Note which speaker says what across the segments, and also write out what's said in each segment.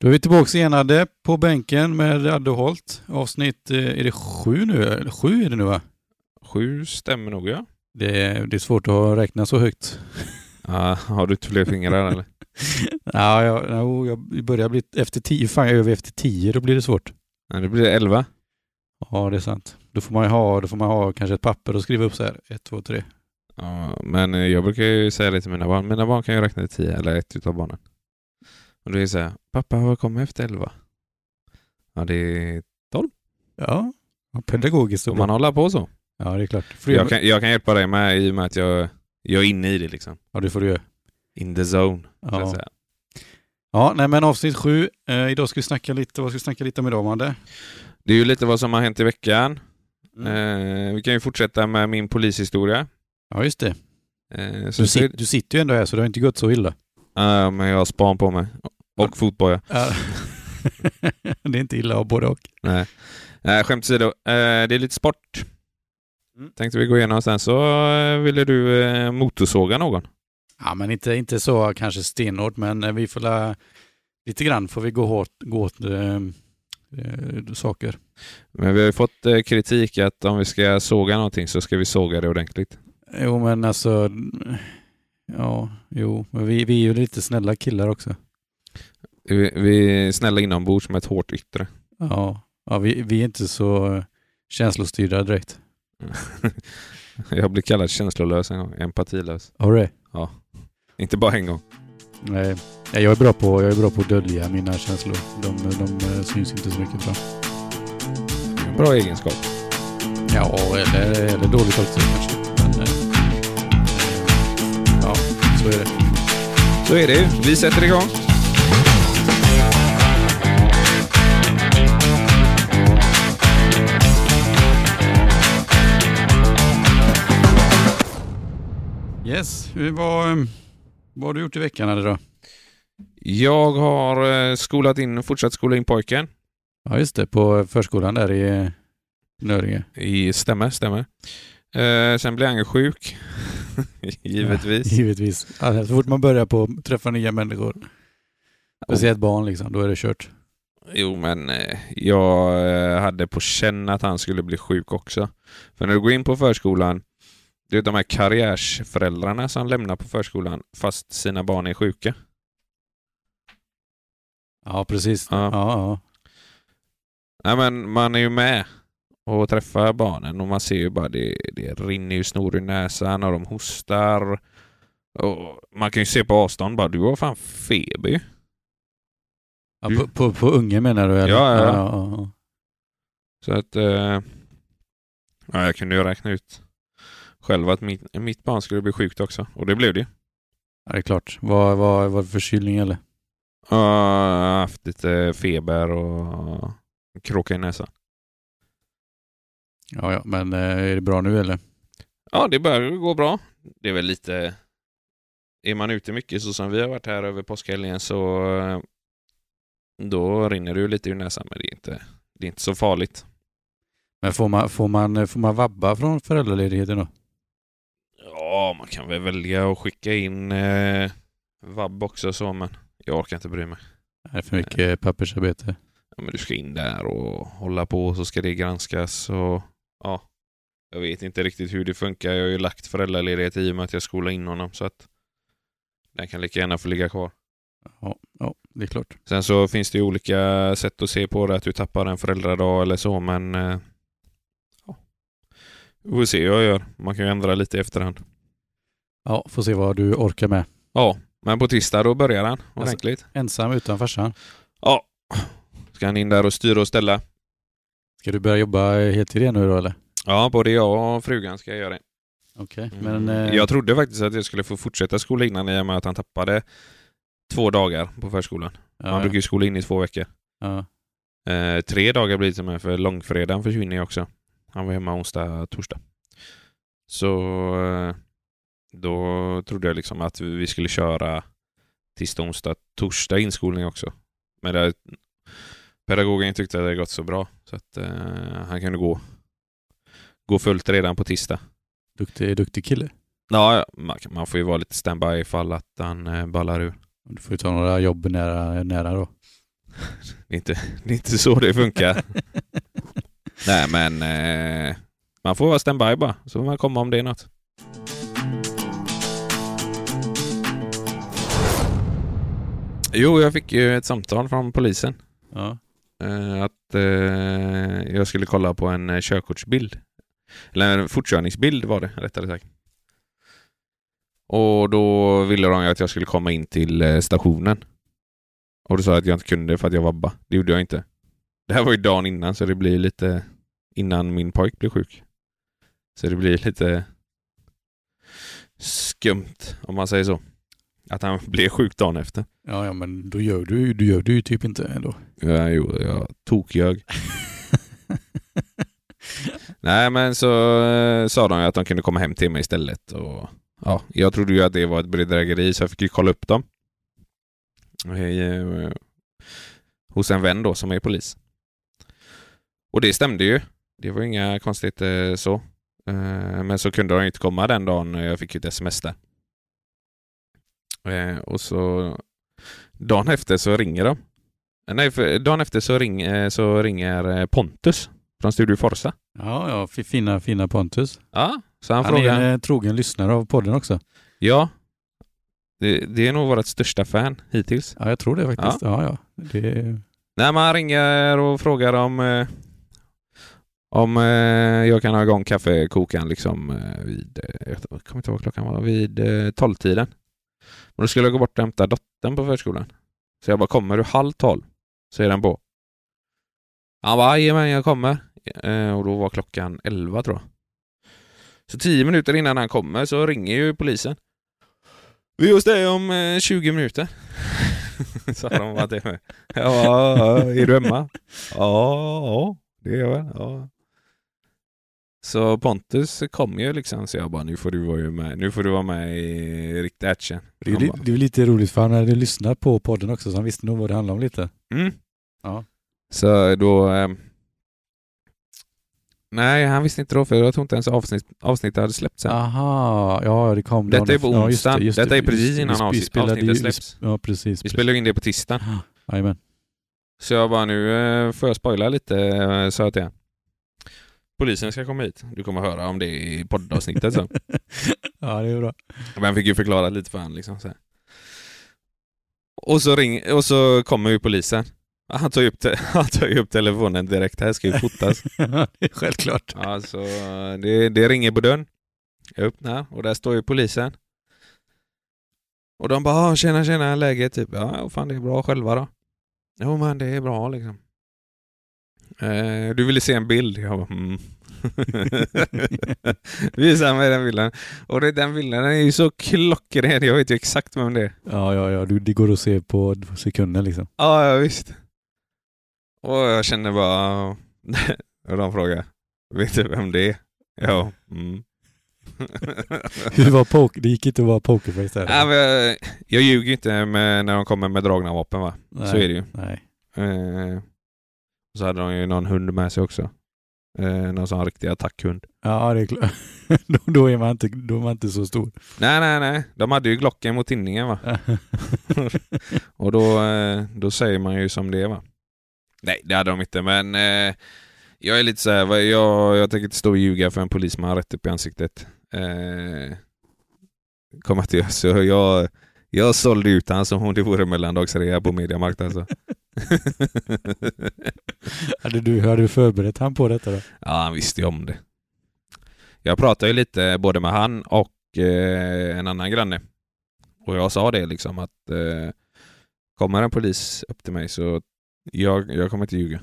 Speaker 1: Då är vi tillbaka enade på bänken med Adde Holt. Avsnitt, eh, är det sju nu? Eller Sju är det nu va?
Speaker 2: Sju stämmer nog ja.
Speaker 1: Det är, det är svårt att ha- räkna så högt.
Speaker 2: Ah, har du inte fler fingrar eller?
Speaker 1: Ja, jag, no, jag börjar bli efter tio. Fan, jag är över efter tio, då blir det svårt.
Speaker 2: Nej, det blir elva.
Speaker 1: Ja, det är sant. Då får man ju ha, då får man ha kanske ett papper och skriva upp så här. Ett, två, tre.
Speaker 2: Ja, men eh, jag brukar ju säga det till mina barn. Mina barn kan ju räkna till tio, eller ett utav barnen. Och då är det så här, pappa vad kommer efter elva? Ja, det är...
Speaker 1: Ja, ja, pedagogiskt.
Speaker 2: Om man håller på så.
Speaker 1: Ja, det är klart. Får du,
Speaker 2: Jag kan, jag kan hjälpa dig med i och med att jag, jag är inne i det liksom.
Speaker 1: Ja, det får du göra.
Speaker 2: In the zone. Så att
Speaker 1: Ja.
Speaker 2: säga.
Speaker 1: ja, nej men avsnitt sju. Eh, idag ska vi snacka lite, vad ska vi snacka lite om idag, Madde?
Speaker 2: Det är ju lite vad som har hänt i veckan.
Speaker 1: Mm.
Speaker 2: Eh, vi kan ju fortsätta med min polishistoria.
Speaker 1: Ja, just det.
Speaker 2: Eh, så
Speaker 1: Du,
Speaker 2: så,
Speaker 1: sit, du sitter ju ändå här så det har inte gått så illa.
Speaker 2: Ja, men jag har span på mig. Och fotboja.
Speaker 1: Ja. det är inte illa att ha både och.
Speaker 2: Nej, Nej skämt åsido. Eh, det är lite sport.
Speaker 1: Mm.
Speaker 2: Tänkte vi gå igenom. Sen så eh, ville du eh, motorsåga någon.
Speaker 1: Ja, men inte, inte så kanske stenhårt, men eh, vi får la, lite grann får vi gå hårt gå åt eh, eh, saker.
Speaker 2: Men vi har ju fått eh, kritik att om vi ska såga någonting så ska vi såga det ordentligt.
Speaker 1: Jo, men alltså, ja, jo, men vi, vi är ju lite snälla killar också.
Speaker 2: Vi, vi är snälla inombords med ett hårt yttre.
Speaker 1: Ja, ja vi, vi är inte så eh, känslostyrda direkt.
Speaker 2: Jag blev kallad känslolös en gång. Empatilös.
Speaker 1: Har du det?
Speaker 2: Inte bara en gång.
Speaker 1: Nej, jag är bra på, jag är bra på att dölja mina känslor. De, de eh, syns inte så mycket fram.
Speaker 2: Bra egenskap.
Speaker 1: Ja, eller, eller dåligt också kanske. Men, eh, eh, ja, så är det.
Speaker 2: Så är det ju. Vi sätter igång.
Speaker 1: Yes, hur- vad, eh, vad har du gjort i veckan eller då?
Speaker 2: Jag har eh, skolat in, fortsatt skola in pojken.
Speaker 1: Ja, just det. På förskolan där i eh, Nöringe.
Speaker 2: I, stämmer, stämmer. Eh, sen blev han ju sjuk. Givetvis. Oh.
Speaker 1: Givetvis. Alltså, så fort man börjar på att träffa nya människor, speciellt barn liksom, då är det kört.
Speaker 2: Jo, men eh, jag eh, hade på känn att han skulle bli sjuk också. För när du går in på förskolan, det är de här karriärsföräldrarna som lämnar på förskolan fast sina barn är sjuka.
Speaker 1: Ja, precis.
Speaker 2: Ja.
Speaker 1: Ja, ja.
Speaker 2: Nej, men man är ju med och träffar barnen och man ser ju bara det, det rinner ju snor i näsan och de hostar. Och man kan ju se på avstånd bara, du har fan feber ju.
Speaker 1: ja på, på, på unge menar du? Eller?
Speaker 2: Mm. Ja, ja, ja.
Speaker 1: ja, ja.
Speaker 2: Så att... Eh, ja, jag kunde ju räkna ut själv att mitt, mitt barn skulle bli sjukt också. Och det blev det ju.
Speaker 1: Ja, det är klart. Vad var, var det förkylning eller?
Speaker 2: Ja, jag har haft lite feber och kråka i näsan.
Speaker 1: Ja, ja, men eh, är det bra nu eller?
Speaker 2: Ja, det börjar ju gå bra. Det är väl lite... Är man ute mycket så som vi har varit här över påskhelgen så eh, då rinner det ju lite ur näsan men det är inte, det är inte så farligt.
Speaker 1: Men får man, får man, får man vabba från föräldraledigheten då?
Speaker 2: Ja, man kan väl välja att skicka in eh, vabb också så men jag orkar inte bry mig.
Speaker 1: Det är för mycket pappersarbete.
Speaker 2: ja, men du ska in där och hålla på och så ska det granskas och ja. Jag vet inte riktigt hur det funkar. Jag har ju lagt föräldraledighet i och med att jag skolar in honom så att den kan lika gärna få ligga kvar.
Speaker 1: Ja, ja, det är klart.
Speaker 2: Sen så finns det ju olika sätt att se på det, att du tappar en föräldradag eller så, men eh, ja. Vi får se hur jag gör. Man kan ju ändra lite i efterhand.
Speaker 1: Ja, får se vad du orkar med.
Speaker 2: Ja, men på tisdag då börjar han ordentligt.
Speaker 1: Ensam utan farsan.
Speaker 2: Ja, ska han in där och styra och ställa.
Speaker 1: Ska du börja jobba heltid igen nu då eller?
Speaker 2: Ja, både jag och frugan ska göra det.
Speaker 1: Okej,
Speaker 2: Men,
Speaker 1: men... Eh,
Speaker 2: Mm. Jag trodde faktiskt att jag skulle få fortsätta skola innan i och med att han tappade två dagar på förskolan. han
Speaker 1: ja,
Speaker 2: brukar ju skola in i två veckor.
Speaker 1: ja,
Speaker 2: Eh, tre dagar blir det som är för långfredagen försvinner ju också. Han var hemma onsdag, torsdag. Så eh, då trodde jag liksom att vi skulle köra tisdag, onsdag, torsdag inskolning också. Men det, pedagogen tyckte att det hade gått så bra så att eh, han kunde gå, gå fullt redan på tisdag.
Speaker 1: duktig, duktig kille.
Speaker 2: Ja, ja, man, kan- man får ju vara lite standby ifall att han eh, ballar ur.
Speaker 1: Du får ju ta några jobb nära, nära då.
Speaker 2: Det är inte, det är inte så det funkar. Nej, men eh, man får vara standby bara, så får man komma om det är något. Jo, jag fick ju ett samtal från polisen.
Speaker 1: Ja.
Speaker 2: Eh, att eh, jag skulle kolla på en eh, körkortsbild. Eller en fortkörningsbild var det, rättare sagt. Och då ville de ju att jag skulle komma in till eh, stationen. Och då sa jag att jag inte kunde för att jag vabba. Det gjorde jag inte. Det här var ju dagen innan så det blir lite innan min pojk blev sjuk. Så det blir lite skumt om man säger så. Att han blev sjuk dagen efter.
Speaker 1: Ja, ja, men då gör du, ju- du gör du ju typ inte ändå.
Speaker 2: Ja, jo, jag tokjög. Nej, men så eh, sa de ju att de kunde komma hem till mig istället. Och, ja, jag trodde ju att det var ett bedrägeri så jag fick ju kolla upp dem. Eh, Hos en vän då som är polis. Och det stämde ju. Det var inga konstigheter så. Eh, Men så kunde de ju inte komma den dagen. Jag fick ju ett sms där. Eh, Och så dagen efter så ringer de. Eh, Nej, för dagen efter så, ring, eh, så ringer eh, Pontus från Studio Forsa.
Speaker 1: Ja, ja, fi- fina, fina Pontus.
Speaker 2: Ja, så han,
Speaker 1: Han är
Speaker 2: frågar.
Speaker 1: en eh, trogen lyssnare av podden också.
Speaker 2: Ja, det, det är nog vårt största fan hittills.
Speaker 1: Ja, jag tror det faktiskt. Ja, ja. Det,
Speaker 2: Nej, men han ringer och frågar om, eh, om eh, jag kan ha igång kaffekokaren liksom eh, vid, eh, jag kommer inte ihåg vad klockan var, vid eh, tolvtiden. Men då skulle jag gå bort och hämta dottern på förskolan. Så jag bara, kommer du halv tolv? Så är den på. Han bara, jajamän jag kommer. Eh, och då var klockan elva tror jag. Så tio minuter innan han kommer så ringer ju polisen. Vi är hos dig om eh, 20 minuter. Sa de att det var. Ja, ja, ja. är du hemma? Ja, ja, det är jag väl. Ja. Så Pontus kom ju liksom, så jag bara nu får du vara ju med, nu får du vara med i riktig action.
Speaker 1: det, är
Speaker 2: Han
Speaker 1: li,
Speaker 2: bara,
Speaker 1: det är lite roligt för han hade lyssnat på podden också så han visste nog vad det handlade om lite.
Speaker 2: Mm.
Speaker 1: Ja.
Speaker 2: Så då... ehm, Nej, han visste inte då, för jag tror inte ens avsnitt, avsnittet hade släppts än.
Speaker 1: Aha, ja det kom.
Speaker 2: Detta
Speaker 1: dagen
Speaker 2: är på
Speaker 1: efter. Ja, just det,
Speaker 2: onsdagen.
Speaker 1: just
Speaker 2: Detta är precis
Speaker 1: just det.
Speaker 2: innan
Speaker 1: Vi sp-
Speaker 2: avsnitt-
Speaker 1: vi spelade
Speaker 2: avsnittet
Speaker 1: ju- vi
Speaker 2: släpps.
Speaker 1: sp- Ja, precis.
Speaker 2: Vi
Speaker 1: precis.
Speaker 2: spelade ju in det på tisdagen.
Speaker 1: Jajamän.
Speaker 2: Så jag bara, nu eh, får jag spoila lite, eh, sa jag till honom. Polisen ska komma hit. Du kommer höra om det i poddavsnittet sen.
Speaker 1: Ja, det är bra.
Speaker 2: Men han fick ju förklara lite för honom liksom så här. Och så, ring, och så kommer ju polisen. Han tar ju upp, te- han tar ju upp telefonen direkt. Det här ska ju fotas.
Speaker 1: det är självklart.
Speaker 2: Ja, så det, det ringer på dörren. Jag öppnar och där står ju polisen. Och de bara "Ah, ”Tjena, tjena, läget?” typ. ”Ja, jo, fan det är bra själva då?” ”Jo men det är bra liksom.” eh, ”Du ville se en bild?” Jag bara mm. Visa mig den bilden. Och det, den bilden den är ju så klockren. Jag vet ju exakt vem det är.
Speaker 1: Ja, ja, ja. Du, det går att se på sekunder liksom.
Speaker 2: Ja, ja visst. Och jag känner bara... Och de frågar, vet du vem det är? Ja. Mm.
Speaker 1: Hur var poker? Det gick inte att vara pokerface där.
Speaker 2: Nej, men jag, jag ljuger ju inte med, när de kommer med dragna vapen va?
Speaker 1: nej,
Speaker 2: Så är det ju.
Speaker 1: Nej.
Speaker 2: Eh, och så hade de ju någon hund med sig också. Eh, någon sån riktig attackhund.
Speaker 1: Ja, det är klart. då, då, är man inte, då är man inte så stor.
Speaker 2: Nej, nej, nej. De hade ju Glocken mot tinningen va? Och då, eh, då säger man ju som det är, va? Nej, det hade de inte, men eh, jag är lite så här, va, jag, jag tänker inte stå och ljuga för en polisman rätt upp i ansiktet. Eh, kom att jag, så jag, jag sålde ut han som om det vore mellandagsrea på Mediamarkt alltså.
Speaker 1: hade, du, hade du förberett han på detta då?
Speaker 2: ja, han visste ju om det. Jag pratade ju lite både med han och eh, en annan granne. Och jag sa det liksom att eh, kommer en polis upp till mig så jag, jag kommer inte ljuga.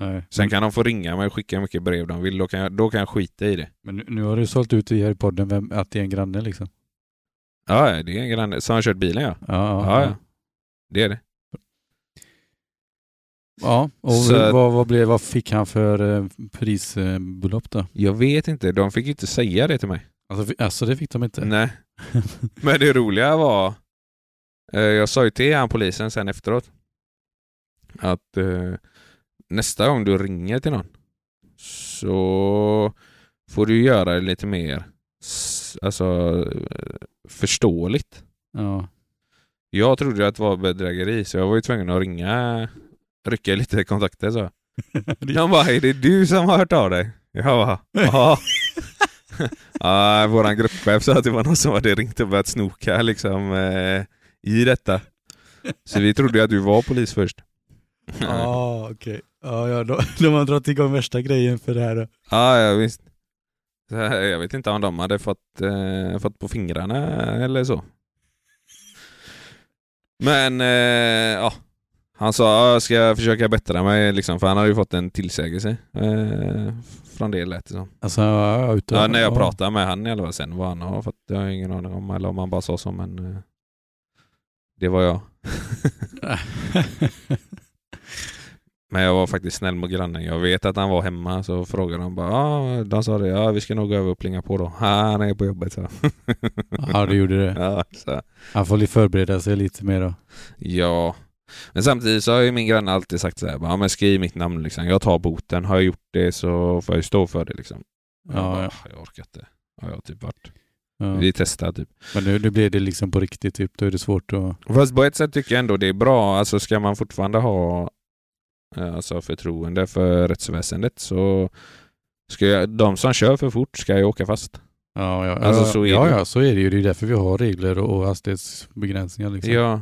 Speaker 1: Nej.
Speaker 2: Sen kan de få ringa mig och skicka hur mycket brev de vill. Då kan jag, då kan jag skita i det.
Speaker 1: Men nu, nu har du sålt ut i här i podden vem, att det är en granne liksom.
Speaker 2: Ja, ja, det är en granne. Så har han kört bilen ja.
Speaker 1: Ja,
Speaker 2: Ja, ja. Det är det.
Speaker 1: Ja, och
Speaker 2: Så-
Speaker 1: vad, vad, blev, vad fick han för eh, prisbelopp då?
Speaker 2: Jag vet inte. De fick ju inte säga det till mig.
Speaker 1: Alltså, fi- alltså det fick de inte?
Speaker 2: Nej. Men det roliga var... eh, Jag sa ju till han polisen sen efteråt att eh, nästa gång du ringer till någon så får du göra det lite mer s- alltså, eh, förståeligt.
Speaker 1: Ja.
Speaker 2: Jag trodde att det var bedrägeri så jag var ju tvungen att ringa rycka lite i kontakter så. De bara, är det du som har hört av dig? Jag bara, ja. ja våran gruppchef sa att det var någon som hade ringt och börjat snoka liksom eh, i detta. Så vi trodde ju att du var polis först.
Speaker 1: Ja, okej. Ja, ja, de, de har dragit igång värsta grejen för det här då.
Speaker 2: Ja, ja visst. Så här, jag vet inte om de hade fått, eh, fått på fingrarna eller så. Men eh, ja, han sa "Ja, jag ska försöka bättra mig liksom, för han hade ju fått en tillsägelse eh, från det lät det som.
Speaker 1: Alltså, ja, utav,
Speaker 2: Ja, när jag pratade med han i alla fall sen vad han har fått, det har jag ingen aning om, eller om han bara sa så men eh, det var jag. Men jag var faktiskt snäll mot grannen. Jag vet att han var hemma så frågade de bara, ah, de sa det, ja vi ska nog gå över och plinga på då. "Ah, Han är på jobbet så.
Speaker 1: ja, du gjorde det.
Speaker 2: ja, så.
Speaker 1: Han får li- förbereda sig lite mer då.
Speaker 2: Ja. Men samtidigt så har ju min granne alltid sagt så här, bara, ja, men skriv mitt namn liksom. Jag tar boten. Har jag gjort det så får jag ju stå för det liksom. Och jag,
Speaker 1: Ja,
Speaker 2: bara,
Speaker 1: ja.
Speaker 2: "Ah, jag orkar inte. Ja, jag har typ varit.
Speaker 1: Ja.
Speaker 2: Vi testar typ.
Speaker 1: Men nu, nu blir det liksom på riktigt, typ. då är det svårt att...
Speaker 2: Fast på ett sätt tycker jag ändå det är bra. Alltså ska man fortfarande ha eh, alltså, förtroende för rättsväsendet så ska jag, de som kör för fort ska ju åka fast.
Speaker 1: Ja, ja,
Speaker 2: Alltså, så är
Speaker 1: ja,
Speaker 2: det.
Speaker 1: ja, så är det ju. Det är ju därför vi har regler och och hastighetsbegränsningar. Liksom.
Speaker 2: Ja.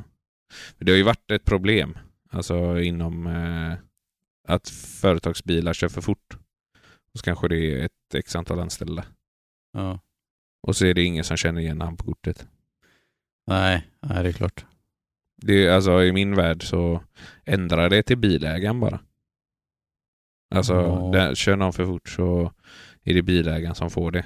Speaker 2: Men Det har ju varit ett problem alltså inom eh, att företagsbilar kör för fort. Och så kanske det är ett x antal anställda.
Speaker 1: Ja.
Speaker 2: Och så är det ingen som känner igen han på kortet.
Speaker 1: Nej, nej, det är klart.
Speaker 2: Det är, alltså, I min värld så ändrar det till bilägaren bara. Alltså,
Speaker 1: Ja.
Speaker 2: där, kör någon för fort så är det bilägaren som får det.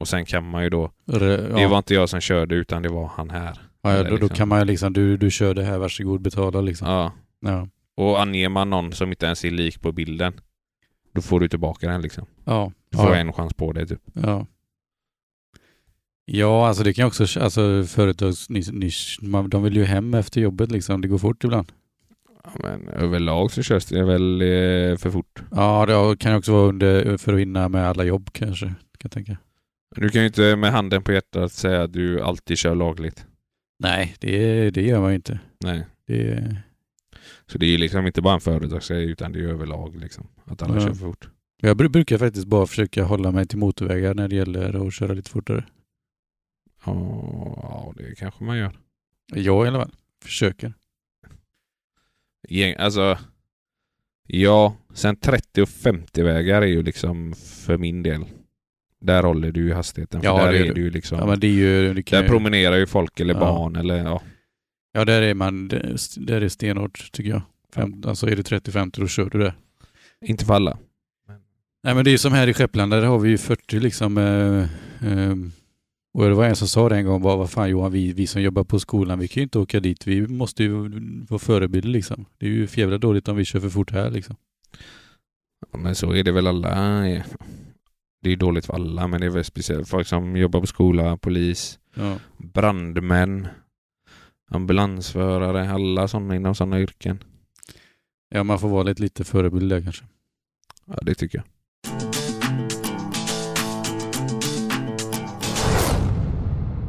Speaker 2: Och sen kan man ju då,
Speaker 1: Re, ja.
Speaker 2: det var inte jag som körde utan det var han här.
Speaker 1: ja, ja, då, då
Speaker 2: liksom.
Speaker 1: kan man ju liksom, du, du kör det här, varsågod betala liksom.
Speaker 2: Ja.
Speaker 1: Ja.
Speaker 2: Och anger man någon som inte ens är lik på bilden, då får du tillbaka den liksom.
Speaker 1: Ja.
Speaker 2: Du får
Speaker 1: Ja.
Speaker 2: en chans på det typ.
Speaker 1: Ja. Ja, alltså det kan också, alltså företagsnisch, man- de vill ju hem efter jobbet liksom, det går fort ibland.
Speaker 2: Ja, men överlag så körs det väl eh, för fort.
Speaker 1: Ja, det kan ju också vara under, för att hinna med alla jobb kanske, kan jag tänka.
Speaker 2: Du kan ju inte med handen på hjärtat säga att du alltid kör lagligt.
Speaker 1: Nej, det, det gör man ju inte.
Speaker 2: Nej.
Speaker 1: Det,
Speaker 2: Så det är ju liksom inte bara en företagsgrej utan det är ju överlag liksom. Att alla
Speaker 1: Ja.
Speaker 2: kör för fort.
Speaker 1: jag bru- brukar faktiskt bara försöka hålla mig till motorvägar när det gäller att köra lite fortare.
Speaker 2: Ja, ja, det kanske man gör.
Speaker 1: Jag i alla fall, försöker.
Speaker 2: Gäng, alltså, ja, sen 30 och 50-vägar är ju liksom för min del. Där håller du ju hastigheten. För
Speaker 1: Ja,
Speaker 2: där
Speaker 1: det gör
Speaker 2: är
Speaker 1: du.
Speaker 2: du ju liksom.
Speaker 1: Ja, men det är ju... Det kan
Speaker 2: där
Speaker 1: ju
Speaker 2: promenerar ju folk eller
Speaker 1: Ja.
Speaker 2: barn eller ja.
Speaker 1: ja, där är man, där är stenhårt tycker jag. Fem, alltså är det 30-50 då kör du det.
Speaker 2: Inte för alla.
Speaker 1: Nej men det är ju som här i Skepplanda, där har vi ju 40 liksom. Eh, eh, och det var en som sa det en gång, bara, vad fan Johan, vi, vi som jobbar på skolan, vi kan ju inte åka dit. Vi måste ju vara förebilder liksom. Det är ju för jävla dåligt om vi kör för fort här liksom.
Speaker 2: Ja, Men så är det väl alla. ja. Det är dåligt för alla, men det är väl speciellt folk som jobbar på skola, polis,
Speaker 1: Ja,
Speaker 2: brandmän, ambulansförare, alla sådana inom sådana yrken.
Speaker 1: ja man får vara lite, lite förebild där kanske.
Speaker 2: Ja, det tycker jag.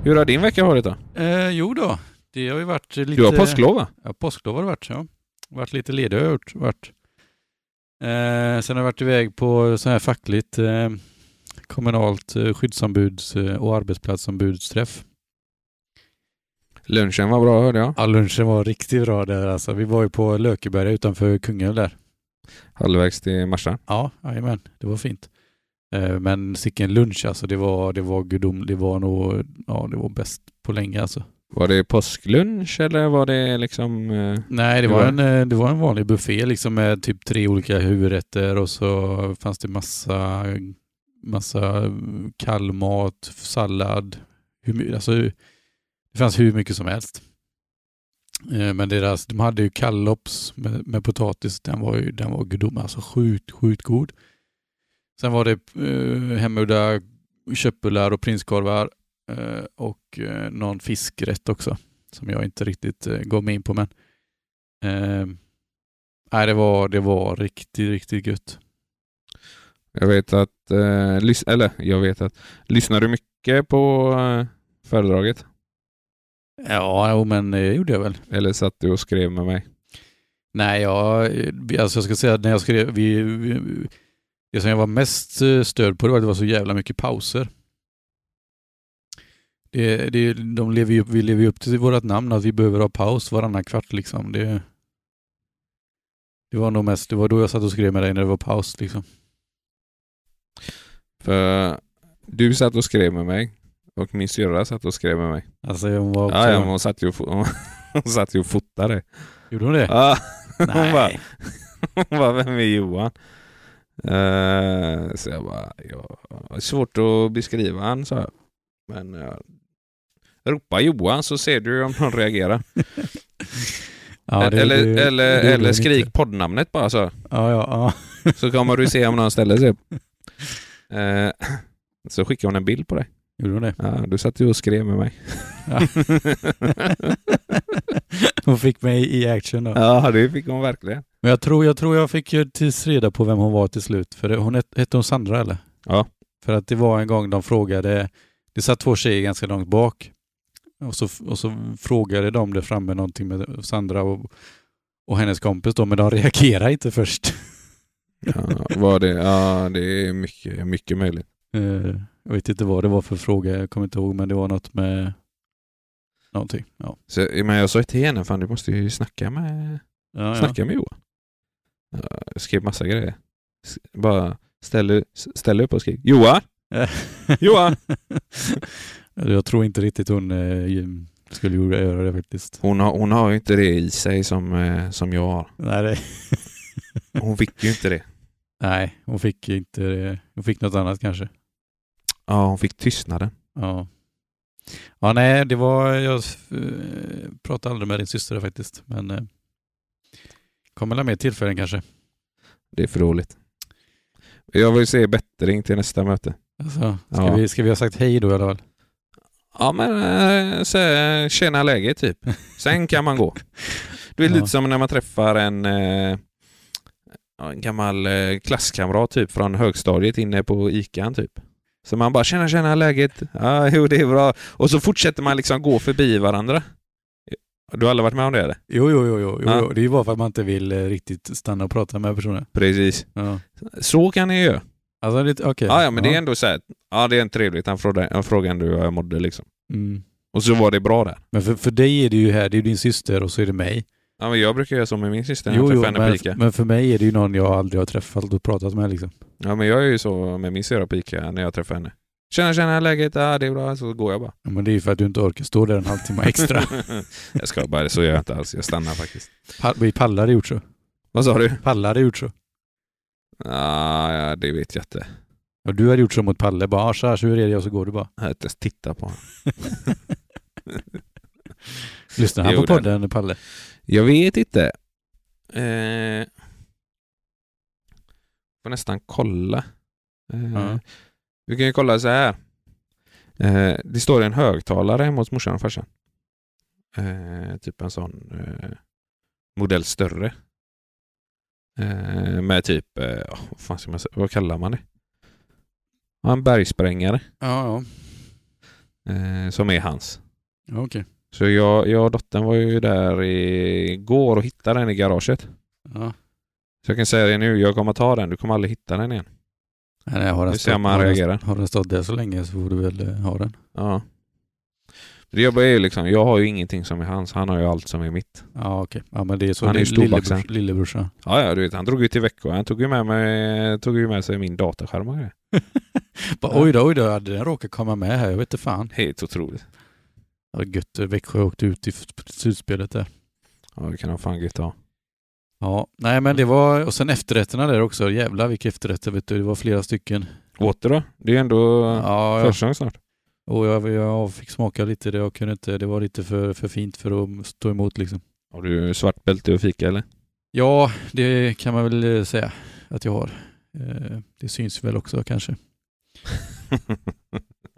Speaker 2: Hur har din vecka varit då?
Speaker 1: Eh, jo då, det har ju varit lite...
Speaker 2: Du har påsklov va?
Speaker 1: Ja, påsklov har det varit. Ja. Varit lite ledig har jag gjort, varit. Eh, sen har jag varit iväg på så här fackligt eh, kommunalt eh, skyddsombuds eh, och arbetsplatsombudsträff.
Speaker 2: Lunchen var bra hörde jag.
Speaker 1: Ja, lunchen var riktigt bra där alltså. Vi var ju på Lökeberga utanför Kungälv där.
Speaker 2: Halvvägs till Marstrand.
Speaker 1: Ja, jajamän, det var fint. Eh, men sicken lunch alltså, det var, det var gudom, det var nog, ja det var bäst på länge alltså.
Speaker 2: Var det påsklunch eller var det liksom... eh,
Speaker 1: Nej, det
Speaker 2: Det
Speaker 1: var,
Speaker 2: var-
Speaker 1: en, eh, det var en vanlig buffé liksom med typ tre olika huvudrätter och så fanns det massa, massa kall mat, sallad. Hur, my- alltså, det fanns hur mycket som helst. Eh, Men deras, de hade ju kallops med, med potatis. Den var ju den var gudom, alltså sjukt, sjukt god. Sen var det eh, hemgjorda köttbullar och prinskorvar eh, och eh, någon fiskrätt också som jag inte riktigt eh, gav mig in på. Men Eh, nej, det var, det var riktigt, riktigt gött.
Speaker 2: Jag vet att, eh, lys- eller jag vet att, lyssnar du mycket på eh, föredraget?
Speaker 1: Ja, jo, men det gjorde jag väl.
Speaker 2: Eller satt du och skrev med mig?
Speaker 1: Nej, jag, alltså jag ska säga att när jag skrev, vi, vi, det som jag var mest eh, störd på det var att det var så jävla mycket pauser. Det, det, de lever ju, upp- vi lever ju upp till vårt namn att vi behöver ha paus varannan kvart liksom. Det, det var nog mest, det var då jag satt och skrev med dig när det var paus liksom.
Speaker 2: För du satt och skrev med mig och min syrra satt och skrev med mig.
Speaker 1: Alltså hon var också,
Speaker 2: Ja, ja, men hon satt ju och, fo- hon satt ju och fotade.
Speaker 1: gjorde hon det?
Speaker 2: Ja, hon, bara,
Speaker 1: Nej.
Speaker 2: hon bara, vem är Johan? Eh, så jag bara, ja, det är svårt att beskriva han, sa jag. Men uh, ropa Johan så ser du om någon reagerar.
Speaker 1: Ja, det-
Speaker 2: eller
Speaker 1: det-
Speaker 2: eller,
Speaker 1: det gjorde
Speaker 2: eller
Speaker 1: hon
Speaker 2: skrik
Speaker 1: inte.
Speaker 2: poddnamnet bara så.
Speaker 1: Ja, ja, ja.
Speaker 2: Så kommer du se om någon ställer sig upp. Eh, så skickade hon en bild på dig.
Speaker 1: Gjorde hon det?
Speaker 2: Ja, du satt ju och skrev med mig.
Speaker 1: Ja. hon fick mig i action då.
Speaker 2: ja, det fick hon verkligen.
Speaker 1: Men jag tror, jag tror jag fick ju tills reda på vem hon var till slut. För det, hon het, hette hon Sandra eller?
Speaker 2: Ja.
Speaker 1: För att det var en gång de frågade, det satt två tjejer ganska långt bak. Och så, och så frågade de där framme någonting med Sandra och, och hennes kompis då, men de reagerade inte först.
Speaker 2: Ja, var det, ja, det är mycket, mycket möjligt.
Speaker 1: Eh, jag vet inte vad det var för fråga, jag kommer inte ihåg, men det var något med någonting. Ja.
Speaker 2: Så, men jag sa ju till henne, fan du måste ju snacka med,
Speaker 1: Ja, ja.
Speaker 2: snacka med Johan. Ja, Jag skrev massa grejer. S- Bara ställ, ställ upp och skrik. Johan! Johan!
Speaker 1: jag tror inte riktigt hon eh, skulle göra det faktiskt.
Speaker 2: Hon har, hon har ju inte det i sig som, eh, som jag har.
Speaker 1: Nej, det...
Speaker 2: Hon fick ju inte det.
Speaker 1: Nej, hon fick inte det. Hon fick något annat kanske.
Speaker 2: Ja, hon fick tystnaden.
Speaker 1: Ja. Ja, nej, det var... Jag eh, pratade aldrig med din syster faktiskt, men... eh, Kommer väl mer tillfällen kanske.
Speaker 2: Det är för dåligt. Jag vill se bättring till nästa möte.
Speaker 1: Alltså, ska,
Speaker 2: Ja.
Speaker 1: vi, ska vi ha sagt hej då i alla fall?
Speaker 2: Ja men eh, så, eh, tjena läget typ. Sen kan man gå. Det är
Speaker 1: Ja.
Speaker 2: lite som när man träffar en, eh, ja, en gammal eh, klasskamrat typ från högstadiet inne på ikan typ. Så man bara tjena tjena läget. Ja jo det är bra. Och så fortsätter man liksom gå förbi varandra. Du har aldrig varit med om det eller?
Speaker 1: Jo, jo, jo, jo, jo,
Speaker 2: Ja.
Speaker 1: jo. Det är ju bara för att man inte vill eh, riktigt stanna och prata med personen.
Speaker 2: Precis.
Speaker 1: Ja.
Speaker 2: Så kan ni göra.
Speaker 1: Alltså, det, okej.
Speaker 2: Ja, ja men det är ändå så här. Ja det är en trevligt. Han frågade han frågade hur jag mådde liksom.
Speaker 1: Mm.
Speaker 2: Och så var det bra där.
Speaker 1: Men för, för dig är det ju här, det är ju din syster och så är det mig.
Speaker 2: Ja, men jag brukar göra så med min syster när jag
Speaker 1: jo, jo,
Speaker 2: träffar henne på
Speaker 1: men,
Speaker 2: Ica.
Speaker 1: men för mig är det ju någon jag aldrig har träffat och pratat med liksom.
Speaker 2: Ja, men jag är ju så med min syrra på Ica när jag träffar henne. Tjena, tjena, läget? Ja, det är bra. Så går jag bara.
Speaker 1: Ja, Men det är ju för att du inte orkar stå där en halvtimme extra.
Speaker 2: jag ska bara, så gör jag inte alls. Jag stannar faktiskt.
Speaker 1: Pa- Vi pallar gjort så.
Speaker 2: Vad sa du?
Speaker 1: Palle hade gjort så.
Speaker 2: Ah, ja, det vet jag inte.
Speaker 1: Och du hade gjort så mot Palle. Bara "Ah, tja, tja, hur är det? Och så går du bara.
Speaker 2: Jag har inte ens tittat på honom.
Speaker 1: Lyssnar han
Speaker 2: Jo,
Speaker 1: på podden Palle?
Speaker 2: Jag vet inte. Eh, får nästan kolla. Eh,
Speaker 1: Ja.
Speaker 2: Vi kan ju kolla så här. Eh, det står en högtalare hemma hos morsan och farsan. Eh, typ en sån eh, modell större. Eh, med typ, eh, ja, vad, fan ska man säga, vad kallar man det? Ja, en bergsprängare
Speaker 1: Ja,
Speaker 2: eh, som är hans.
Speaker 1: ja. Okej.
Speaker 2: Så jag, jag och dottern var ju där igår och hittade den i garaget.
Speaker 1: Ja.
Speaker 2: Så jag kan säga det nu, jag kommer ta den. Du kommer aldrig hitta den igen.
Speaker 1: Nej, nej, har den
Speaker 2: Vi ser om han
Speaker 1: har den-
Speaker 2: reagerar.
Speaker 1: Har den stått där så länge så får du väl eh, ha den.
Speaker 2: Ja. Det jobbiga är ju liksom, jag har ju ingenting som är hans. Han har ju allt som är mitt.
Speaker 1: Ja, okej. Ja, men det är så.
Speaker 2: Han
Speaker 1: det
Speaker 2: är ju storbaxen.
Speaker 1: lillebrors, lillebrorsan.
Speaker 2: Ja, ja, du vet, han drog ju till Växjö. Han tog ju med, mig, tog ju med sig min dataskärm och grejer.
Speaker 1: Bara, oj då, oj då. Hade den råkat komma med här? Jag vet inte fan.
Speaker 2: Helt otroligt.
Speaker 1: Ja, gött. Växjö åkte ut i f- slutspelet där.
Speaker 2: Ja, det kan han fan gött ha.
Speaker 1: Ja, nej men det var... Och sen efterrätterna där också. Jävlar vilka efterrätter vet du. Det var flera stycken.
Speaker 2: Åter då? Det är ju ändå
Speaker 1: Ja, ja.
Speaker 2: försäsong snart.
Speaker 1: Och jag, jag fick smaka lite. Det, jag kunde inte, det var lite för, för fint för att stå emot liksom.
Speaker 2: Har du svart bälte och fika eller?
Speaker 1: Ja, det kan man väl eh, säga att jag har. Eh, Det syns väl också kanske.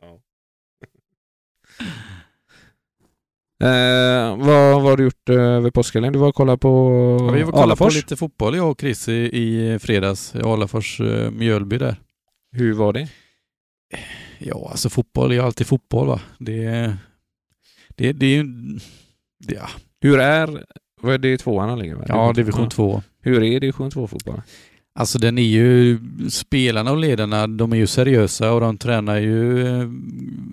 Speaker 2: ja. eh, vad, vad har du gjort eh, över påskhelgen? Du var och kollade på
Speaker 1: Ja, vi var kolla på
Speaker 2: Alafors.
Speaker 1: lite fotboll jag och Chris i, i fredags. i Alafors eh, Mjölby där.
Speaker 2: Hur var det?
Speaker 1: Ja, alltså fotboll är ju alltid fotboll va. Det, det, det är ju... det- Ja,
Speaker 2: Hur är Vad är det i tvåan han ligger med?
Speaker 1: Ja, division 2.
Speaker 2: Hur är division 2-fotbollen?
Speaker 1: Mm. Alltså den är ju, spelarna och ledarna, de är ju seriösa och de tränar ju eh,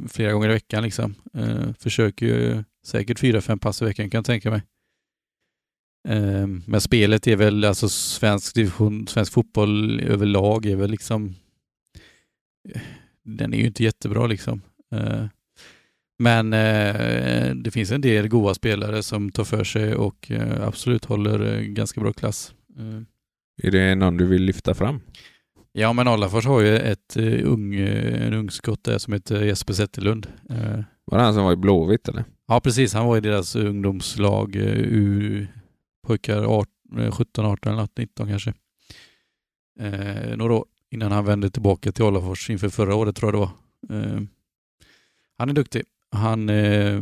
Speaker 1: flera gånger i veckan liksom. Eh, försöker ju säkert fyra, fem pass i veckan kan jag tänka mig. Eh, men spelet är väl, alltså svensk division, svensk fotboll överlag är väl liksom, eh, den är ju inte jättebra liksom. Eh, men eh, det finns en del goa spelare som tar för sig och eh, absolut håller eh, ganska bra klass. Eh,
Speaker 2: Är det någon du vill lyfta fram?
Speaker 1: Ja, men Alafors har ju ett eh, ung, eh, en ungskott där som heter Jesper Zetterlund. Eh,
Speaker 2: Var det han som var i Blåvitt eller?
Speaker 1: ja, precis. Han var i deras ungdomslag, eh, U, pojkar art- eh, 17, 18 eller 19 kanske. Eh, några år innan han vände tillbaka till Alafors inför förra året tror jag det var. Eh, han är duktig. Han, eh,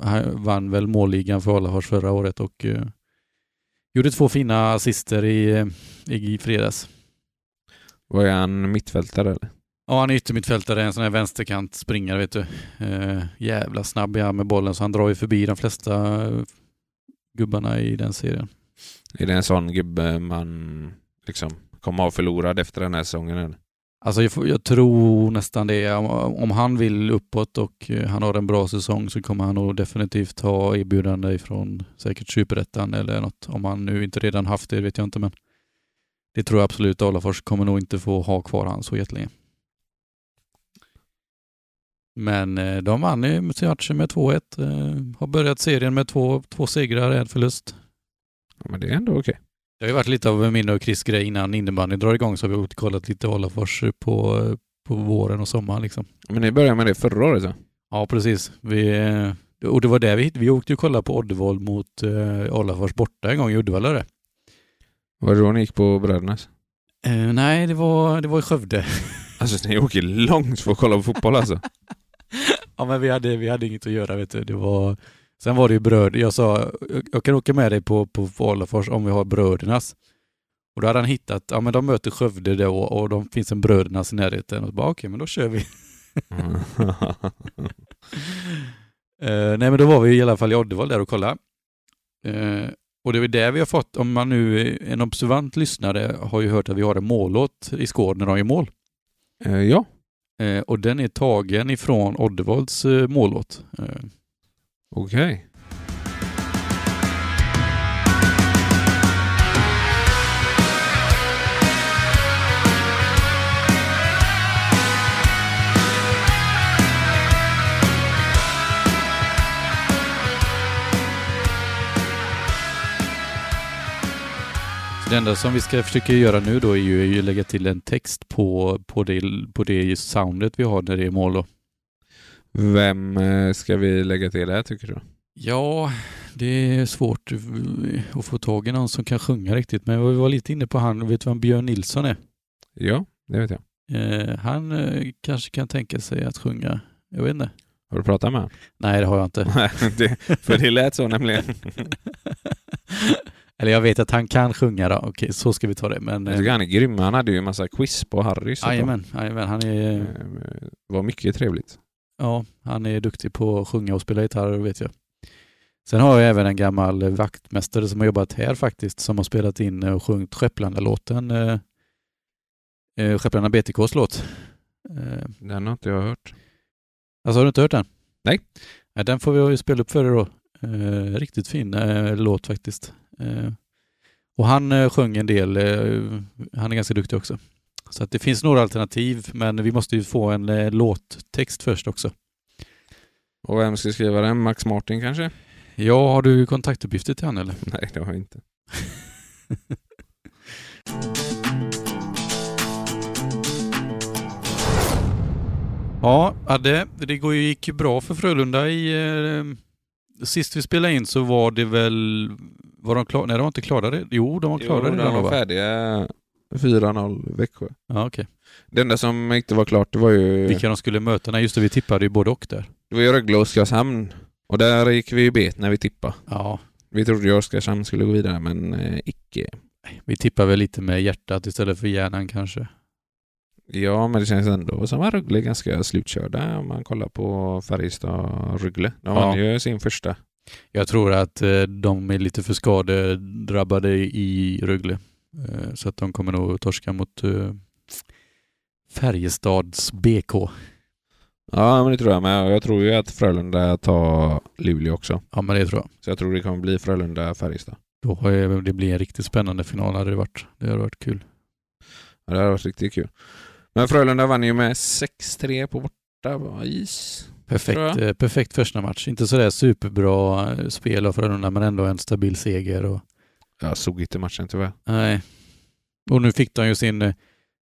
Speaker 1: han vann väl målligan för Alafors förra året och eh, gjorde två fina assister i, eh, i fredags.
Speaker 2: Var är han mittfältare eller?
Speaker 1: Ja, han är yttermittfältare, en sån här vänsterkant springare vet du. Eh, jävla snabb är han med bollen så han drar ju förbi de flesta eh, gubbarna i den serien.
Speaker 2: Är det en sån gubbe man liksom kommer av förlorad efter den här säsongen eller?
Speaker 1: Alltså jag, får- jag tror nästan det. Om, om han vill uppåt och eh, han har en bra säsong så kommer han nog definitivt ha erbjudande ifrån säkert superettan eller något. Om han nu inte redan haft det vet jag inte men det tror jag absolut. Alafors kommer nog inte få ha kvar han så jättelänge. Men eh, de vann ju matchen med 2-1. eh, Har börjat serien med två, två segrar, en förlust.
Speaker 2: Ja, men det är ändå okej.
Speaker 1: Det har ju varit lite av min och Chris grej innan innebandy drar igång så har vi åkt och kollat lite Alafors på, på våren och sommaren liksom.
Speaker 2: Men ni började med det förra året så.
Speaker 1: Ja, precis. Vi, eh, och det var där vi hitt- Vi åkte ju och kollade på Oddevold mot eh, Alafors borta en gång i Uddevalla. det.
Speaker 2: Var det då ni gick på Brödernas?
Speaker 1: Eh, nej, det var, det var i Skövde.
Speaker 2: Alltså ni åker långt för att kolla på fotboll alltså.
Speaker 1: Ja, men vi hade, vi hade inget att göra, vet du. Det var, sen var det ju bröd. Jag sa, jag, jag kan åka med dig på, på Alafors om vi har Brödernas. Och då hade han hittat, ja men de möter Skövde då och de finns en Brödernas i närheten. Och så bara okej, men då kör vi. Eh, nej men då var vi i alla fall i Oddevall där och kollade. Eh, och det är där vi har fått, om man nu, är en observant lyssnare har ju hört att vi har en mållåt i Skåne när de gör mål.
Speaker 2: Eh, ja,
Speaker 1: Eh, och den är tagen ifrån Oddevalls eh, mållåt. Eh,
Speaker 2: okej.
Speaker 1: så det enda som vi ska försöka göra nu då är ju, är ju lägga till en text på, på, det, på det soundet vi har när det är mål då.
Speaker 2: Vem eh, ska vi lägga till där tycker du?
Speaker 1: Ja, det är svårt eh, att få tag i någon som kan sjunga riktigt, men vi var lite inne på han, vet du vem Björn Nilsson är?
Speaker 2: Ja, det vet jag.
Speaker 1: Eh, han eh, kanske kan tänka sig att sjunga. Jag vet inte.
Speaker 2: Har du pratat med honom?
Speaker 1: Nej, det har jag inte.
Speaker 2: Nej, det- för det lät så nämligen.
Speaker 1: Eller jag vet att han kan sjunga då. Okej, så ska vi ta det. Men,
Speaker 2: Jag
Speaker 1: eh,
Speaker 2: tycker han är grym. Han hade ju en massa quiz på Harrys. och så.
Speaker 1: jajamän, jajamän, han
Speaker 2: Eh,
Speaker 1: är,
Speaker 2: var mycket trevligt.
Speaker 1: ja, han är duktig på att sjunga och spela gitarr, vet jag. Sen har jag även en gammal eh, vaktmästare som har jobbat här faktiskt, som har spelat in eh, och sjungit Skepplandalåten, eh, eh, Skepplanda BTKs låt. Eh,
Speaker 2: Den har inte jag hört.
Speaker 1: Alltså har du inte hört den?
Speaker 2: Nej.
Speaker 1: Nej, den får vi ju spela upp för dig då. Eh, riktigt fin eh, låt faktiskt. Eh, och han eh, sjöng en del. Eh, han är ganska duktig också. Så att det finns några alternativ, men vi måste ju få en eh, låttext först också.
Speaker 2: Och vem ska skriva den? Max Martin kanske?
Speaker 1: Ja, har du kontaktuppgifter till han eller?
Speaker 2: Nej, det har jag inte.
Speaker 1: Ja, Adde, det går ju, gick ju bra för Frölunda i... Eh, sist vi spelade in så var det väl... Var de klara? Nej, de var inte klara redan. Jo, de var klara
Speaker 2: de
Speaker 1: redan då
Speaker 2: var
Speaker 1: va?
Speaker 2: färdiga 4-0 Växjö.
Speaker 1: Ja, okej.
Speaker 2: Det enda som inte var klart det var ju,
Speaker 1: Vilka de skulle möta? Nej, just det, vi tippade ju både och där.
Speaker 2: det var ju Rögle och Oskarshamn. Och där gick vi ju bet när vi tippade.
Speaker 1: Ja,
Speaker 2: Vi trodde ju Oskarshamn skulle gå vidare, men eh, icke.
Speaker 1: Vi tippar väl lite med hjärtat istället för hjärnan kanske.
Speaker 2: Ja, men det känns ändå som att Rögle är ganska slutkörda om man kollar på Färjestad och Rögle. De
Speaker 1: Ja.
Speaker 2: vann ju sin första
Speaker 1: Jag tror att eh, de är lite för skadedrabbade i Rögle. Eh, Så att de kommer nog torska mot eh, Färjestads BK.
Speaker 2: Ja, men det tror jag med. Och Jag tror ju att Frölunda tar Luleå också.
Speaker 1: Ja, men det tror jag.
Speaker 2: Så jag tror det kommer bli Frölunda-Färjestad.
Speaker 1: Då har jag, det blir en riktigt spännande final hade det varit. Det hade varit kul.
Speaker 2: Ja, det hade varit riktigt kul. Men Frölunda vann ju med 6-3 på borta på is. Tror
Speaker 1: Perfekt,
Speaker 2: jag.
Speaker 1: eh, perfekt första match. Inte sådär superbra eh, spel av Frölunda men ändå en stabil seger. Och,
Speaker 2: Jag såg inte matchen tyvärr.
Speaker 1: nej. och nu fick de ju sin... eh,